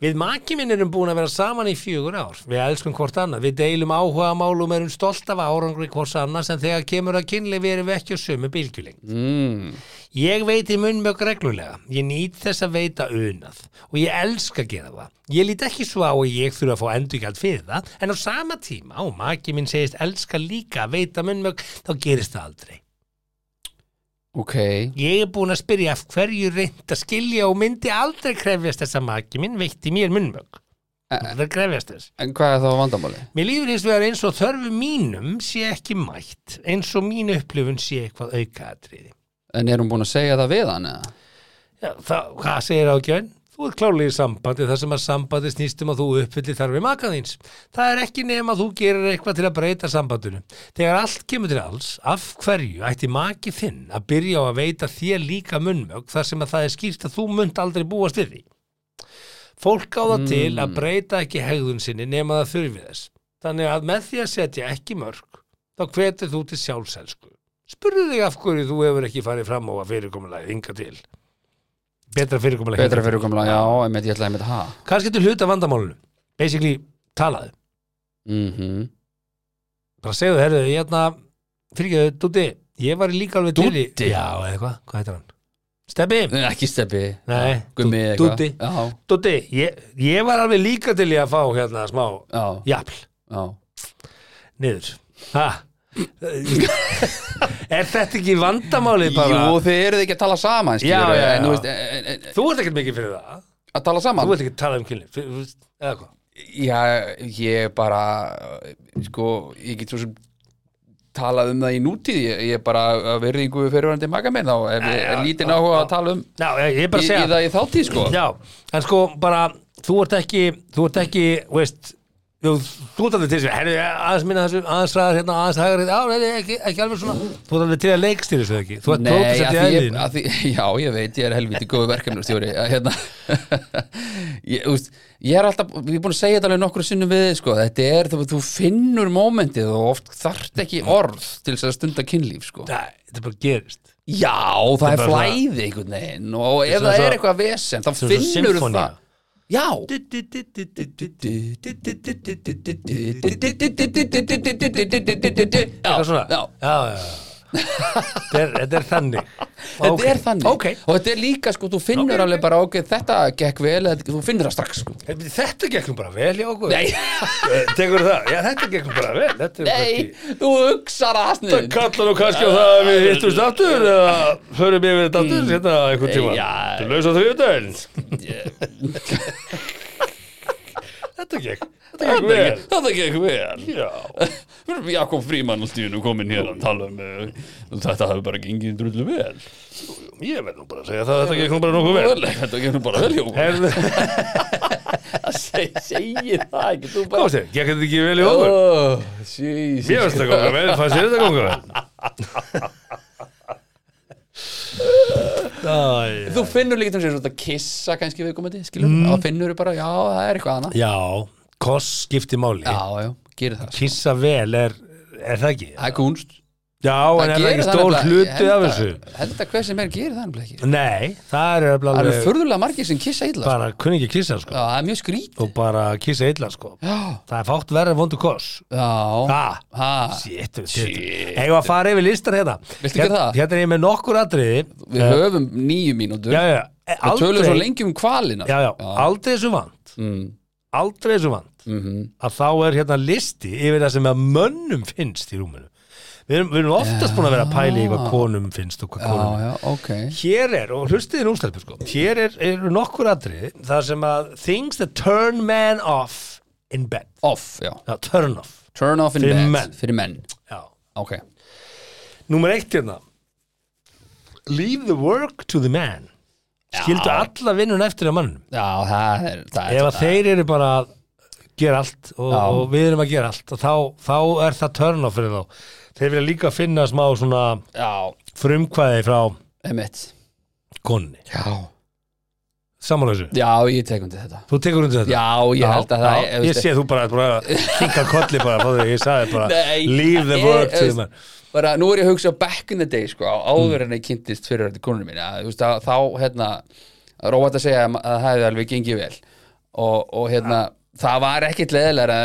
B: Við maki minn erum búin að vera saman í fjögur ár. Við elskum hvort annað. Við deilum áhuga málum, erum stolt af árangri hvort annars en þegar kemur að kynli við erum við ekki á sömu bylgjuleng.
A: mm.
B: Ég veit í munnmök reglulega. Ég nýt þess að veita unað og ég elska að gera það. Ég lít ekki svo á að ég þurfa að fá endurgjald fyrir það en á sama tíma og maki minn segist elska líka að veita munnmök þá gerist það aldrei.
A: Ok,
B: Ég er búin að spyrja af hverju reynd að skilja og myndi aldrei krefjast þess að maki minn veitti mér munnmök. Það krefjast þess.
A: en hvað er það vandamáli?
B: Mér lífur hins vegar eins og þörfu mínum sé ekki mætt, eins og mín upplifun sé eitthvað aukaatriði.
A: En er hún búin að segja það við hann eða?
B: Já, það, hvað segir ágjöfn? Þú ert klárlega í sambandi þar sem að sambandi snýst um að þú uppfyllir þarfi maka þíns. Það er ekki nema að þú gerir eitthvað til að breyta sambandinu. Þegar allt kemur til alls, af hverju ætti maki þinn að byrja á að veita þér líka munnmög þar sem að það er skýrt að þú munt aldrei búast við því. Fólk á það til að breyta ekki hegðun sinni nema það þurfi þess. Þannig að með því að setja ekki mörg, þá hvetur þú til sjálfselsku. Spurðu þig af hverju þú hefur ekki farið fram á að fyrirkomulagið hinga til. Betra fyrirkomulagið.
A: Betra fyrirkomlega, já, einmitt, ég ætla einmitt ha
B: Kannski til hluta vandamálunum. Basically, talaðu.
A: mm
B: Bara segðu, herðu, ég hérna, fyrirgeðu, Dúti, ég var líka alveg til í...
A: Dúddi?
B: Já, eða hvað, hvað heitir hann? Stebbi?
A: Ekki steppi,
B: Nei,
A: gummi
B: Dú-
A: eitthvað
B: Dúddi.
A: Já,
B: Dúti, ég, ég var alveg líka til í að fá hérna smá
A: já,
B: jafl,
A: já
B: niður. Ha? er þetta ekki vandamálið bara?
A: Jú, þið eruð ekki að tala saman, skilur
B: Já, já, já.
A: En, þú veist, en, en,
B: Þú ert ekkert mikið fyrir það.
A: að tala
B: Þú
A: saman
B: ert ekki að tala um kynlíf, fyrir- fyrir- eða hvað?
A: Já, ég bara sko, ég get svo sem talað um það í nútíð ég, ég bara af virðingu fyrirverandi maga minn þá ef ég
B: Já,
A: er
B: já,
A: lítið
B: já,
A: náhuga
B: já.
A: að tala um
B: Já, ég, ég er bara
A: í,
B: að
A: í
B: segja
A: það í þáttíð sko
B: Já, en sko bara þú ert ekki, þú ert ekki veist, þú, þú ert alveg til þessu herri, aðeins minna þessu, aðeins ræðar hérna aðeins hægar hérna, á, nei, nei, ekki, ekki alveg svona þú ert alveg til að leikstýra þessu ekki þú ert
A: Nei, að
B: prófisett í
A: því, ég,
B: eðlin
A: að því, já, ég veit, ég er helviti góðu verkefnustjóri að hérna ég, úst, ég er alltaf, ég er búin að segja þetta alveg nokkru sinnum við, þig, sko, þetta er þú, þú finnur mómentið og oft þarft ekki orð til þess að stunda kynlíf, sko
B: Nei, þetta bara gerist
A: Já, það, er
B: bara
A: flæði einhvern veginn og ef
B: svona
A: það
B: svo-
A: er eitthvað vesen, þá
B: er svona
A: finnur
B: symfónía.
A: það Já
B: eitthvað
A: Já,
B: svona
A: já
B: já, já, já. Þetta er- þetta er þannig
A: Þetta
B: Ok,
A: er þannig
B: ok.
A: og þetta er líka sko, þú finnur
B: Ok, ok.
A: alveg bara ok, þetta gekk vel, eða þú finnur það strax sko.
B: Heyrðu, Þetta gekk nú bara vel í okkur
A: Nei,
B: Tekur það, já þetta gekk nú bara vel Þetta er
A: nei, þú hugsar að
B: Þetta
A: sniðin
B: kallar nú kannski á það að við hittumst aftur eða förum yfir þetta aftur hérna einhvern tíma
A: Já.
B: Þetta er laus á þriðudaginn Þetta gekk Þetta gekk vel
A: Þetta gekk vel
B: Já
A: Jakob Fríman alltaf nú komin hér að tala um eh, þetta hafi bara gengið drullu vel
B: Ég verð nú bara að segja það, þetta gekk nú bara nokkuð vel
A: Þetta gefur bara vel hjá okkur
B: Herðu,
A: Segji það ekki, þú
B: Hvað
A: bara
B: sé, gekk þetta ekki vel í okkur? Mér finnst þetta ganga vel, fannst þér þetta ganga vel? Æ,
A: Þú finnur líka til þess að kissa kannski viðkomandi, skilur mm. og finnur bara, já, það er eitthvað annað
B: Já, koss skiptir máli
A: Já, já, gerir það
B: Kissa vel er, er það ekki?
A: Það er kunst
B: Já, en er það ekki stór hluti af þessu?
A: Held að hver sem er gerir það nefnilega ekki
B: Nei, það er
A: Það
B: alveg
A: eru furðulega margir sem kissa illa sko.
B: bara kunni ekki að kissa sko.
A: Já, það er mjög skrít
B: og bara kissa illa sko.
A: Já,
B: það er fátt verið vondu koss
A: já
B: ha,
A: Ha,
B: shit, shit. eigum að fara yfir listan hérna
A: Viltu gera það?
B: hérna er ég með nokkur atriði
A: Við höfum nýju mínútur
B: já, já, e,
A: Við tölum svo
B: aldrei,
A: lengi um kvalina
B: já, já, aldrei þessu vant
A: Mm,
B: aldrei þessu vant
A: mhm.
B: að þá er hérna listi yfir það sem að mönnum finnst í rúminu við erum, við erum oftast búin að vera að pæla í hvað konum finnst og hvað
A: Ah. Já,
B: konum
A: já, ok
B: Hér er, og hlustiði nú stelpur sko Hér er, eru nokkur atriði þar sem að things that turn man off in bed
A: Off, já
B: Já, turn off
A: Turn off in
B: Fyrir
A: bed
B: menn.
A: Fyrir menn
B: Já.
A: Ok
B: Númer eitt hérna Leave the work to the man Skildu alla vinnun eftir að mannum
A: Já, það er, það er
B: Ef að þeir eru bara að gera allt og,
A: Já.
B: og við erum að gera allt og þá, þá er það turn off fyrir þá Þeir vilja líka finna smá svona
A: Já,
B: frumkvæði frá
A: emitt
B: konni
A: Já
B: Samanlausu
A: Já, ég tek undir þetta
B: Þú tekur undir þetta?
A: Já, ég held að það
B: Ég sé þú bara, bara kinka kolli bara, fóðu, ég sagði bara
A: Nei,
B: Leave the
A: ég-
B: work to Mm.
A: ég-
B: the man
A: bara, Nú er ég að hugsa back in the day sko, á- áður en ég kynntist fyrir þetta konur mín að, þú veist, að, þá, hérna róvægt að segja að ma- að það hefði alveg gengið vel og, og hérna það var ekkit leðilega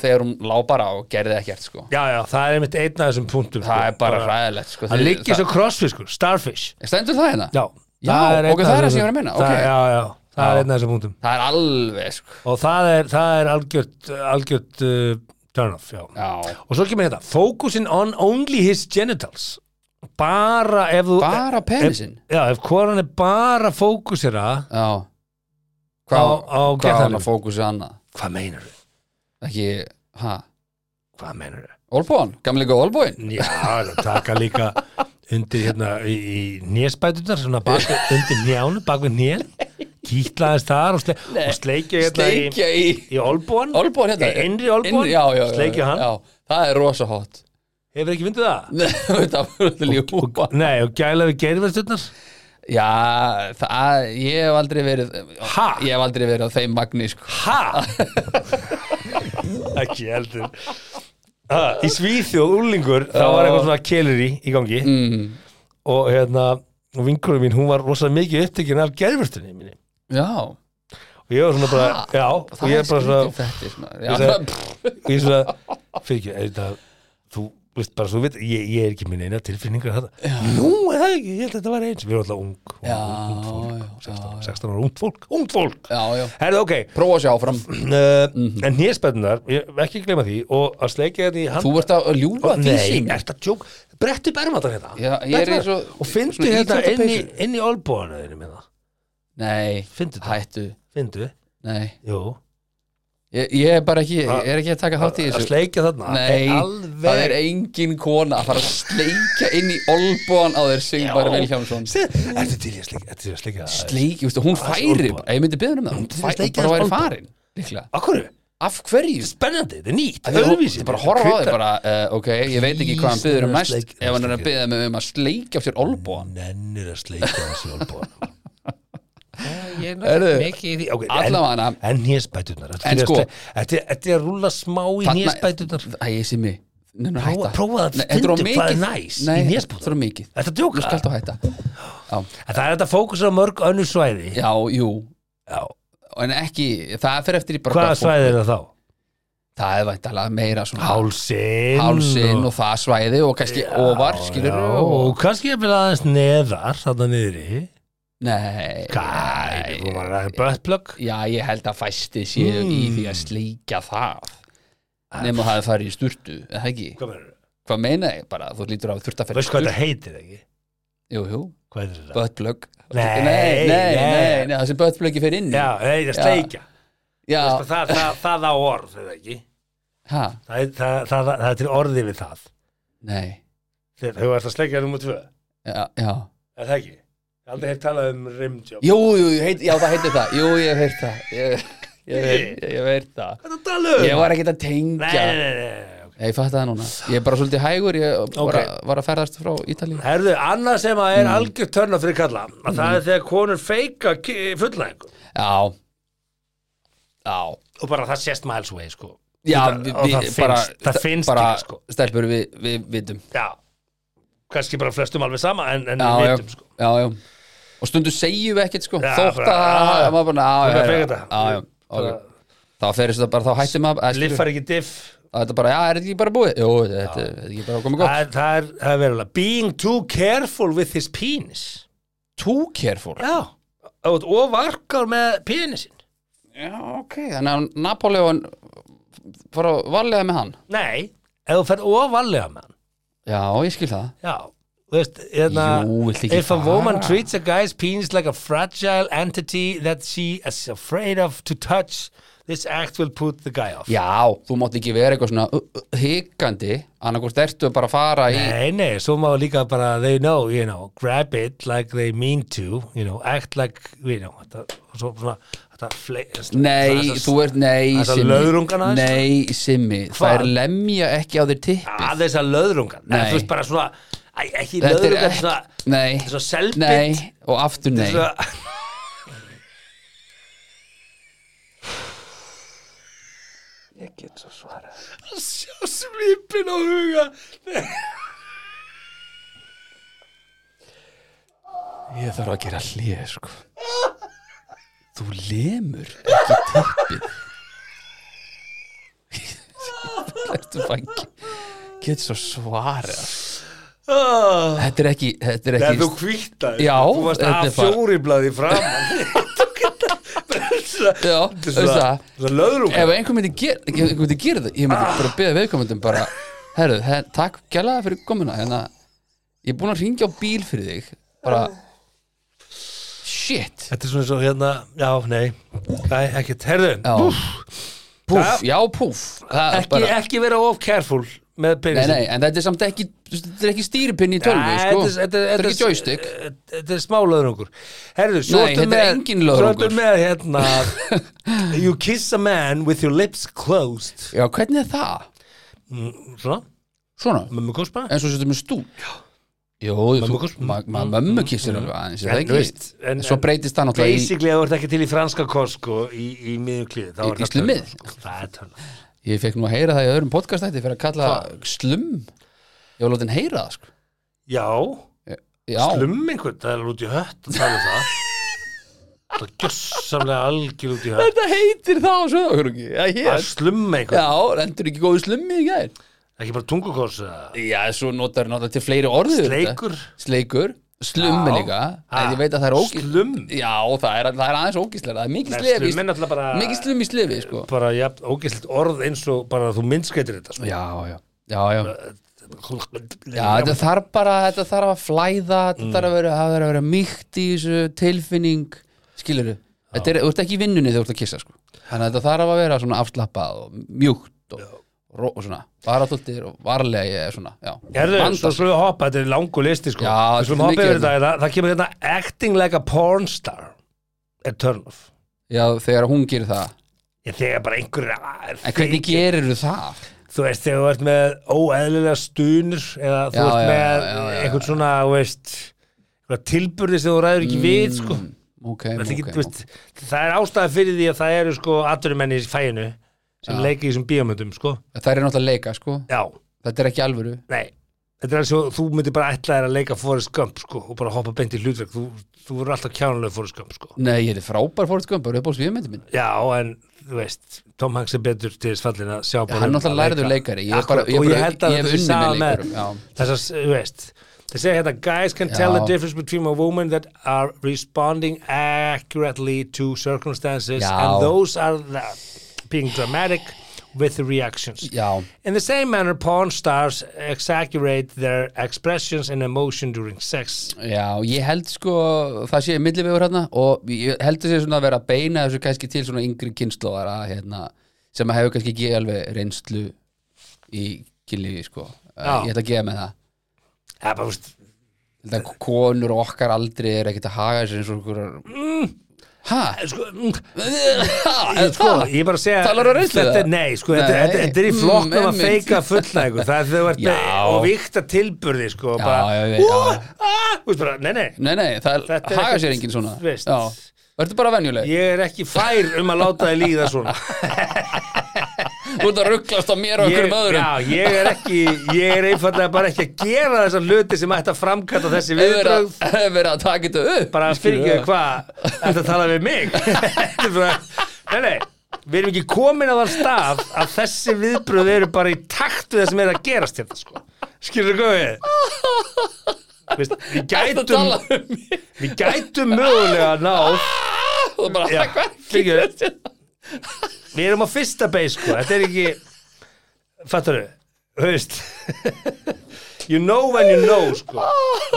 A: þegar hún lá bara og gerði ekkert sko.
B: Já, já, það er einmitt einn af þessum punktum
A: það
B: sko,
A: er bara hræðilegt
B: Það
A: sko, þegar-
B: liggi svo crossfiskur, sko, starfish
A: Stendur það hérna?
B: Já,
A: Já,
B: einn
A: ok,
B: af
A: það er það
B: þessum-
A: sem ég var að meina,
B: það-
A: ok.
B: Já, já, það
A: Já.
B: er einn af þessum punktum
A: Það er alveg sko.
B: Og það er, það er algjört, algjört uh, turn off, já.
A: Já,
B: Og svo kemur þetta, focusing on only his genitals Bara ef þú
A: bara penisinn
B: ef, Já, ef konan er bara fókusera
A: Já
B: Á- á
A: Hvað hvað á hann
B: gethanum.
A: að fókusa annað?
B: Hvað meinar þau?
A: Ekki, hæ?
B: Hvað meinar þau?
A: Olbóin? Gamlega Olbóin?
B: Já, það taka líka undir hérna í, í nésbætunar, svona bak, undir njánu, bak við njén, kýtlaðist þar og, sle, og sleikja hérna
A: Sleikja
B: í,
A: í
B: í olbúan,
A: Olbóin hérna
B: Í innri olnbogann?
A: Innri- Já, já, já
B: Sleikja hann?
A: Já, það er rosa hot
B: hefur ekki fundið það?
A: Nei, það var alltaf ljúpa
B: Nei, og gæla við geirverðsturnar?
A: Já, það, ég hef aldrei verið
B: Ha?
A: Ég hef aldrei verið á þeim magni, sko
B: Ha? ekki heldur. Ha, í Svíþjóð, úlingur, þá var eitthvað svona keleri í gangi
A: mm.
B: og hérna, og vinkurum mín, hún var rosalega mikið upptekinn af geirverðsturni minni.
A: Já,
B: Og ég var svona bara,
A: Ha?
B: já, og
A: það
B: ég
A: er
B: er bara svona,
A: skrítið þetta svona-
B: Ég
A: Já,
B: sagði- og ég svona, fyrir ekki, er þetta þú veist bara svo þú veit, ég, ég er ekki minn eina tilfinningar þetta, nú er það ekki, ég held að þetta var eins við erum alltaf ung, ung,
A: Já,
B: ung fólk
A: já,
B: 16, 16 ára, ung fólk, ung fólk
A: já, já
B: herðu, ok,
A: Prófa að sjá áfram
B: uh, en nýrspennunar ekki gleyma því, og að sleikja þetta í hand
A: Þú ert að ljúfa því
B: Nei,
A: sín
B: er þetta tjók, brettu bermatar hérna
A: Já, ég er
B: Brettu
A: eins og-
B: bermatar. og fyndu
A: svona
B: hérna inn í,
A: íþróttapeysu.
B: inn í olbúanuðinu með það,
A: Nei,
B: fyndu það
A: hættu
B: fyndu,
A: Nei,
B: jú
A: Ég, ég er bara ekki, ég er ekki að taka þátt í
B: að
A: þessu
B: sleikja þarna
A: Nei,
B: er
A: það er
B: alveg
A: engin kona að fara að sleikja inn í olbúan á þér Sigmar Vilhjámsson
B: Se- Ertu til í að sleikja Ertu til í að sleikja það?
A: Sleikja, veistu, hún færi
B: olnbogann.
A: bara, ég myndi beðunum það, hún
B: til að
A: færi, hún
B: sleikja
A: bara
B: aðeins
A: væri
B: olnbogann.
A: farin líklega.
B: Akkur er
A: Af hverju?
B: Spennandi, þetta er nýtt
A: Það
B: öðruvísi.
A: er bara að horfa á þig
B: Hvítar-
A: bara, uh, ok, ég veit ekki hvað hann
B: Please,
A: byður um
B: never
A: næst
B: sleik-
A: ef hann er að byða mig um að sleikja á sér olbúan
B: Nennir að sleikja þessi olbúan
D: Ég er
A: Heyrðu,
D: náttúrulega mikið í því
B: okay,
A: Allavega.
B: En, en nýjaspætunar
A: En sko-
B: Þetta er að rúla smá í nýjaspætunar
A: Æ, ég sé mig Nenna
B: Prófa-
A: hætta
B: prófa að
A: Nei, þetta of
B: fyndum hvað er
A: mikið.
B: næs í
A: Nei,
B: nésbúðum.
A: þetta er of mikið
B: Þetta
A: Þú
B: djóka
A: skalt á hætta Já,
B: En Það er þetta fókus á mörg önnur svæði
A: já, jú
B: Já.
A: En ekki, það fer eftir í bara
B: Hvaða
A: hvað fólk-
B: svæði er það þá?
A: Það er væntalega meira svona
B: Hálsinn
A: hálsinn og það svæði og kannski ofar, skilur
B: Já,
A: og...
B: og kannski er bara aðeins neðar þarna niðri
A: Nei
B: Kæ, þú var að bötplögg
A: Já, ég held að fæsti séu í því
B: Hmm.
A: að sleikja það nema það að fara í sturtu, eða ekki
B: Hvað verður?
A: Hvað meina ég bara, þú lítur að þurft að fyrir
B: Veist hvað þetta heitir ekki?
A: Jú, jú,
B: Hvað heitir þetta?
A: buttplug
B: Nei,
A: nei, nei,
B: nei.
A: nei, nei, það sem buttplugi fer inn í.
B: Já, nei, það sleikja
A: já,
B: Veistu, það, það, það á orð, eða ekki
A: ha,
B: það, er- það, það, það, það er til orði við það
A: nei
B: Þegar þú ert að sleikja nummer tvö
A: Já, já
B: Er það ekki? Ég hef aldrei hef talað um rimjob
A: Jú, jú, jú, heit, já, það heitir það Jú, ég hef heyrt það Ég, ég, ég, ég hef heyrt það
B: Hvað er það að tala um?
A: Ég var ekkert að
B: Nei,
A: tengja
B: nei, nei, nei, nei. ok.
A: Ég fatt það núna Ég er bara svolítið hægur Ég var,
B: Ok.
A: að, var að ferðast frá Ítalíu
B: Herðu, annað sem að er mm. algjör törna fyrir kalla að það
A: Mm.
B: er þegar konur feika fullnæðingu
A: Já Já
B: og bara það sést miles away sko
A: Já,
B: það,
A: við,
B: og
A: við,
B: það finnst,
A: bara,
B: það finnst
A: bara,
B: ekki sko
A: Stelpur, við, við vitum
B: Já, kannski bara flestum alveg sama en, en
A: Já,
B: við
A: já,
B: vitum sko
A: já, já Og stundu segjum við ekkert sko
B: Já,
A: Þótt
B: bara,
A: að
B: já, já.
A: maður bara,
B: Þú
A: já,
B: ert að
A: já, já,
B: fega
A: já,
B: þetta.
A: já, já, ok. Þá fyrir þetta bara, þá hættum maður að skilur-
B: Liffar ekki diff
A: að Þetta bara, já, er þetta ekki bara búið? Jú, þetta þetta er ekki bara komið gott
B: Það er- það er, það er verulega Being too careful with his penis
A: Too careful
B: Já Og varkar með penisin
A: Já, ok, þannig að Napoleon fór að varlega með hann
B: Nei, ef þú ferð ofalega með hann
A: Já, ég skil það
B: Já, þú veist, hérna
A: Jú, viltu ekki
B: If a woman
A: fara?
B: treats a guy's penis like a fragile entity that she is afraid of to touch this act will put the guy off
A: Já, þú mátt ekki vera eitthvað svona uh, uh, hikandi, annarkvort ertu bara að fara í
B: Nei, nei, svo má líka bara they know, you know, grab it like they mean to, you know, act like you know, þetta, svo, svona þetta fle,
A: Nei, þú ert, nei,
B: þessar
A: Simmi
B: löðrungar aðeins? sko.
A: Nei, Simmi, það
B: Hvað?
A: er lemja ekki á þér tippið
B: að þessar löðrungan, nei,
A: Nei.
B: þú veist bara svona æ, ekki
A: Þetta er
B: löðrungan,
A: ekki-
B: svona
A: Nei,
B: svona selbit
A: nei, og aftur nei
B: svona,
D: Ég get svo svarað
B: að sjá svipin á huga
A: Ég þarf að gera hlið, sko Þú lemur ekki tippið Ertu fangi Getur svo svarað
B: oh.
A: Þetta er ekki, þetta er
B: Nei, þú
A: ekki
B: kvíttar
A: Já,
B: Þú varst
A: þetta
B: að
A: er bara-
B: fjóri blaði fram Þetta
A: Já,
B: er
A: veist
B: svona,
A: það
B: svona löðrum
A: ef einhver myndi gera, ef einhver myndi gera það ég myndi
B: Ah.
A: bara beða viðkomendum bara herru, her, takk gælaða fyrir komuna hérna, ég er búin að ringja á bíl fyrir þig bara shit,
B: Þetta er svona svo hérna Já, nei, Æ, ekki, herðu
A: já púf, já púf það, er
B: ekki, ekki vera of careful með
A: nei,
B: penisinn
A: nei, en þetta er samt ekki þetta er ekki stýripinni í tölvi,
B: Nei,
A: sko
B: þetta er- þetta er-
A: þetta er
B: þetta er-
A: ekki joystick
B: Þetta er smá löðrungur Herðu, svo
A: Nei,
B: ertu
A: þetta er
B: með-
A: engin
B: Svo
A: löðrungur.
B: ertu með hérna You kiss a man with your lips closed
A: já, hvernig er það?
B: Svona,
A: svona,
B: mömmu kospa
A: eins og setjum við stú Jó, þú,
B: Mömmukoss.
A: ma ma mömmu kissir alveg
B: En,
A: aðeins, er það
B: þú
A: ekki?
B: veist, en-
A: Svo
B: en-
A: breytist það náttúrulega í,
B: Basically, ef þú ert ekki til í franska kosko í, í miðjum klíð þá
A: Í-
B: er
A: í
B: það
A: slummið?
B: tölva, sko. Það er tölva
A: Ég fekk nú að heyra það í öðrum podcastætti fyrir að kalla slum Ég var látin heyra það sko
B: Já,
A: Já,
B: slum einhvern, það er alveg út í hött að tala um það Það er gjössamlega algjör út í hött
A: þetta heitir það á söðakrungi Já,
B: Að
A: hér
B: slumma einhvern,
A: Já, rendur ekki góðu slummi í gær
B: ekki bara tungukors eða
A: Já, svo notar notar til fleiri orðu
B: Sleikur?
A: Sleikur, slummi
B: Já.
A: líka
B: Ha.
A: En ég veit að það er ógist
B: Slum
A: Já, það er, það er aðeins ógistlega Það er mikið
B: Nei,
A: slefi
B: slum er náttúrulega bara-
A: Mikið slum í slefi sko
B: bara ja, ógæslit orð eins og bara þú minnskættir þetta sko.
A: Já, já, já, já Já, þetta
B: Já, Mm.
A: þarf bara, þetta þarf að flæða, þetta þarf að vera, það þarf að vera mýkt í þessu tilfinning, skilur Þetta er, þú ert ekki í vinnunni þegar þú ert að kissa, sko. Þannig að þetta þarf að vera svona afslappað og mjúkt og, ró, og svona varatóltir og varlega ég er svona, já.
B: Herðu, svo
A: Vanda sig.
B: slúðum við hoppa, þetta er langu listi sko
A: Já,
B: Við slúðum hoppa
A: mikið
B: yfir þetta, það, það kemur hérna Acting like a porn star er turn off
A: Já, þegar hún gerir það.
B: Ég þegar bara einhverjir
A: En hvernig gerir það?
B: Þú veist, þegar þú ert með óeðlilega stunur eða þú
A: Já,
B: ert
A: já,
B: með
A: já, já, já.
B: einhvern svona, þú veist einhverja tilburði sem þú ræður ekki við sko.
A: Mm, ok,
B: Það er
A: ok.
B: ekki, þú
A: okay.
B: veist, það er ástæða fyrir því að það eru sko atvinnumenni í fæinu sem
A: Já.
B: leika í þessum bíómyndum sko.
A: Það er náttúrulega að leika, sko.
B: Já,
A: Þetta er ekki alvöru.
B: nei Þetta er eins og þú myndir bara ætla þér að leika Forrest Gump sko, og bara hoppa beint í hlutverk þú, þú voru alltaf kjánulega Forrest Gump sko.
A: Nei, ég er frábær Forrest Gump, bara upp á svíðmyndi minn.
B: Já, en þú veist Tom Hanks er betur til þess fallin að sjá bara
A: Hann
B: um
A: náttúrulega
B: að
A: lærður leikari. Ég, er bara,
B: Akkurat,
A: ég,
B: og
A: bara,
B: ég held að
A: ég hef
B: þetta sé
A: unni með
B: sama með-
A: leikarum. Já,
B: þess að, þú veist það segja hérna, guys can tell
A: Já.
B: the difference between a woman that are responding accurately to circumstances
A: Já.
B: and those are the, being dramatic with the reactions
A: já,
B: in the same manner porn stars exaggerate their expressions and emotion during sex
A: já, ég held sko það sé millivegur hérna og ég held þessi svona að vera að beina þessu kannski til svona yngri kynnslóðara hérna, sem hefur kannski ekki alveg reynslu í kynlífi sko.
B: Já.
A: Ég ætla að gefa með það.
B: ja, bara, þú veist,
A: Ég held að konur á okkar aldrei er ekkert að haga þessu eins og okkur Hæ?
B: sko, mm,
A: Hæ?
B: Ég, sko, ég er bara að segja
A: Talar á reynslu
B: þetta,
A: það?
B: er- Nei, sko, þetta,
A: Nei.
B: þetta, þetta er í
A: Mm,
B: flokkum að
A: einmitt.
B: feika fullnægu Það er þegar þú ert
A: Já.
B: og vikta tilburði sko,
A: Já,
B: bara,
A: já, já, já.
B: "Ú, ah," Þú veist bara, nei, nei
A: Nei, nei, það er,
B: Þetta er
A: haga
B: ekkert-
A: sér enginn svona
B: veist.
A: Já, verður bara venjuleg
B: Ég er ekki fær um að láta þið líða svona
A: Þú ert að rugglast á mér og
B: ég,
A: einhverjum öðrum
B: já, ég er ekki Ég er einfallega bara ekki að gera þessa hluti sem ætti að framkalla þessi
A: Ef verið að-
B: viðbrögð
A: ef verið að taka þetta upp
B: bara að fyrir
A: skilurðu.
B: ekki hvað Þetta tala við mig Þetta er bara, Nei, nei Við erum ekki komin á þann stað að þessi viðbröð eru bara í takt við það sem er að gerast hérna sko. Skilur þú góðið? Veist, við
A: Ertu að tala
B: gætum
A: um mig
B: við gætum mögulega að ná
A: og bara
B: Já,
A: hvað
B: fyrir
A: gerist hérna?
B: við erum á fyrsta base sko. þetta er ekki fattar þau, höfist you know when you know sko.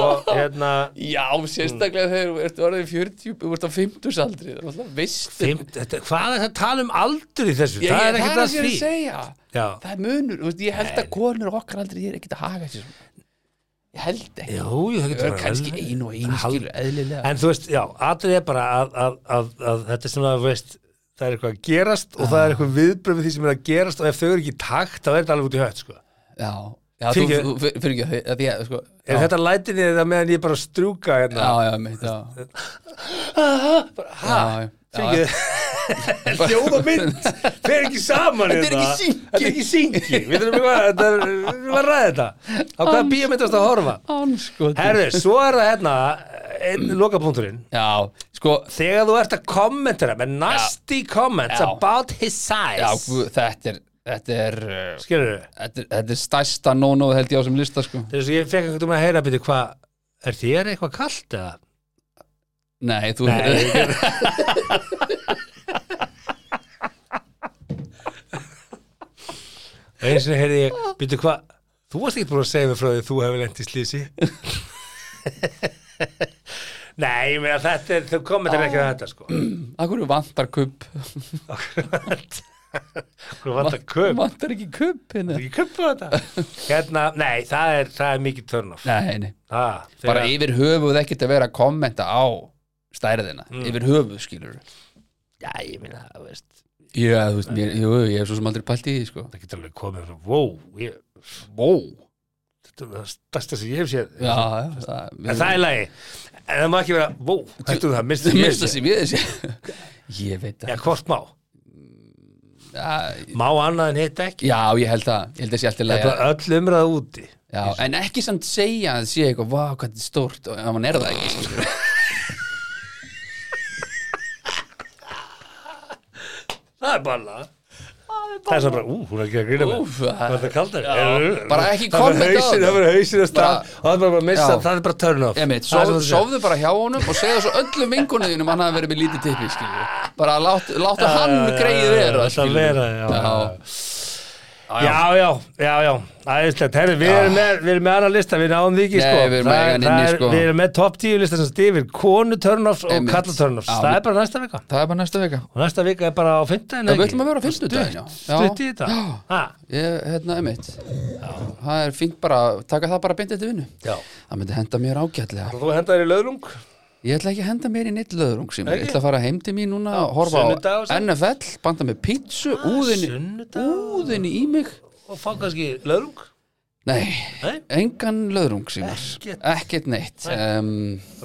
B: og hérna
A: Já, sérstaklega þegar þú ert orðið 40 Þú ert á 50 aldri Það er alltaf veist
B: Fimm, þetta, hvað er það að tala um aldur í þessu?
A: Ég-
B: það
A: ég-
B: er ekkert
A: það
B: að
A: sem ég
B: því.
A: er að segja
B: Já.
A: Það er munur, þú veist, ég held að konur á okkar aldrei er ekkert að haga þessu svona. Ég held ekki
B: Jú, jú, það
A: Það
B: getur
A: er
B: verið
A: kannski
B: eðlilegt.
A: ein og ein
B: Hal-
A: skilur eðlilega
B: En þú veist, já, atrið er bara að, að, að, að þetta er svona, þú veist, það er eitthvað að gerast og það er eitthvað viðbröð við því sem er að gerast og ef þau eru ekki í takt, þá er þetta alveg út í hött, sko.
A: Já, já þú,
B: Fyrirgefðu.
A: þú fyrir ekki að því- að því að sko
B: Er
A: já,
B: þetta lætinni þetta meðan ég bara strjúka hérna?
A: Já, já, mitt, já
B: Hæ?
A: Já, já, já.
B: Fyrir Ljóð og mynd, þeir eru ekki saman
A: Þetta er
B: hérna.
A: ekki synki.
B: Þetta er ekki syngi, við þurfum eitthvað, þetta er, við þurfum að ræða þetta. Á hvaða bíómyndast að horfa?
A: Andskotinn.
B: Herðu, svo er það hérna, einn lokapunkturinn.
A: Já, sko
B: Þegar þú ert að kommentera með nasty comments
A: Já.
B: about his size.
A: já, guð, Þetta er Þetta er uh,
B: Skilur þau?
A: Þetta er, þetta er stærsta no-no held ég á sem lista sko
B: Þegar svo ég fekk einhvern veginn að heyra byrju hvað, er þér eitthvað kalt eða?
A: Nei, þú
B: Nei, Og eins og heyrði ég, byrju hvað, þú varst ekkert búin að segja mér frá því að þú hefur lent í slísi. Nei, ég meina þetta er, þau komið þetta er ekki að þetta sko.
A: Akkur vantar kubb
B: Hvað var þetta köp?
A: Vantar ekki kubb hérna
B: Ekki köp á þetta? Hérna, nei, það er, það er mikið törn off.
A: Nei, nei
B: Ah,
A: Bara yfir höfuð ekkert að vera að kommenta á stærðina Yfir höfuð skilur
B: Já, ég meina, þú veist,
A: Já, þú veist, mér, jú, ég hef svo sem aldrei pælt í því sko
B: það getur alveg komið frá, wow, ég,
A: Vó
B: þetta er það stærsta sem ég hef séð.
A: Já, já, það,
B: En það er lagi En það má ekki vera, vó, hættu það, mistu
A: Það
B: því
A: mista sem ég þessi Ég
B: Já,
A: veit það
B: hvort má
A: Já,
B: Má annað en hitt ekki
A: já, ég held það Ég held það sé alltaf
B: Þetta er öll umræða úti
A: Já, en ekki samt segja að sé eitthvað, vá, hvað þetta er stórt og ef hann er það ekki skilur.
B: Það er bara Það er svo bara, ú, hún er ekki að grýna með
A: Úff,
B: Það er þetta kaldar
A: bara ekki
B: Það
A: kommenta á
B: er hausinn-
A: þetta.
B: það verður hausinn að stað
A: Bara-
B: Og það er bara bara að missa,
A: Já.
B: það er bara turn off
A: Emitt,
B: Það er
A: sof,
B: svo-
A: sofðu bara hjá honum og segja svo öllum vingunuðinum hann hafi verið með lítið tippi skilur. bara láta, láta hann
B: Já, já,
A: greið
B: já,
A: vera
B: Þetta
A: skilur.
B: vera, já, já
A: Já.
B: Já, já, já, já, æðislegt Herri, við, erum með, við erum með annan lista, við náum því ekki
A: Nei,
B: sko.
A: við erum með
B: Það-
A: engan
B: það
A: inni,
B: er-
A: sko.
B: Við erum með topp 10 lista sem stifir Konu turnoffs og
A: Einmitt.
B: kalla turnoffs
A: Já,
B: Það
A: við-
B: er bara næsta vika
A: Það er bara næsta vika
B: Og næsta vika er bara á fimmtudaginn
A: Það
B: eða
A: við
B: ekki?
A: ætlum að vera á fyrstu daginn, já. Já.
B: Stutt í þetta ha,
A: Ég, hérna, emitt Það er fínt bara, taka það bara beint eftir vinnu
B: Já
A: Það myndi henda mér ágætlega
B: Þú hendaðir í löðlung
A: Ég ætla ekki að henda mér í neitt löðrung sem ég
B: Ekki?
A: ætla að fara heim til mín núna og horfa
B: sunnudag og
A: á
B: svona. Ah,
A: NFL, banda með pítsu, úðinni,
B: Sunnudag
A: úðinni í mig
B: Og fá kannski löðlung
A: Nei,
B: Nei,
A: engan löðrung sínar
B: Ekkert.
A: Ekkert neitt um,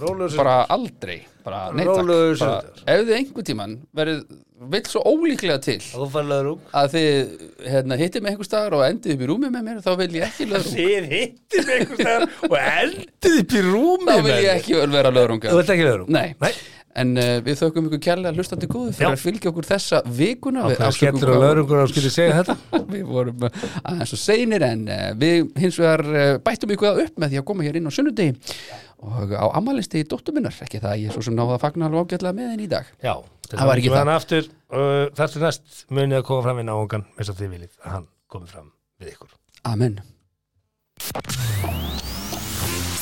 B: rólegur sem
A: Bara aldrei bara, nei, takk.
B: Rólegur
A: bara,
B: sunnudagur.
A: Ef þið einhvern tímann verið vill svo ólíklega til
B: Þú fær löðlung
A: að þið hérna, hittið mig einhver staðar og endið upp í rúmi með mér þá vil ég ekki löðrung
B: Þið hittum einhvers staðar og endið upp í rúmi
A: þá vil ég ekki vera
B: Þú
A: löðrunga
B: ert ekki löðlung
A: Nei. En uh, við þökkum ykkur kærlega hlustandi góðu fyrir
B: Já.
A: að fylgja okkur þessa vikuna Við
B: Það
A: afsökum
B: skellur á
A: hvað-
B: löðlungur og skilur segja þetta
A: Við vorum uh, aðeins og seinir en uh, við hins vegar uh, bættum ykkur það upp með því að koma hér inn á sunnudegi og á ammælisti í dóttuminnar ekki það að ég svo sem náða að fagna alveg ágætlega með henni í dag
B: Já,
A: Það var ekki
B: Meðan
A: það.
B: aftur, uh, Þar til næst munið að koma fram inn á ungan eins og þið viljið að hann komi fram við ykkur
A: Amen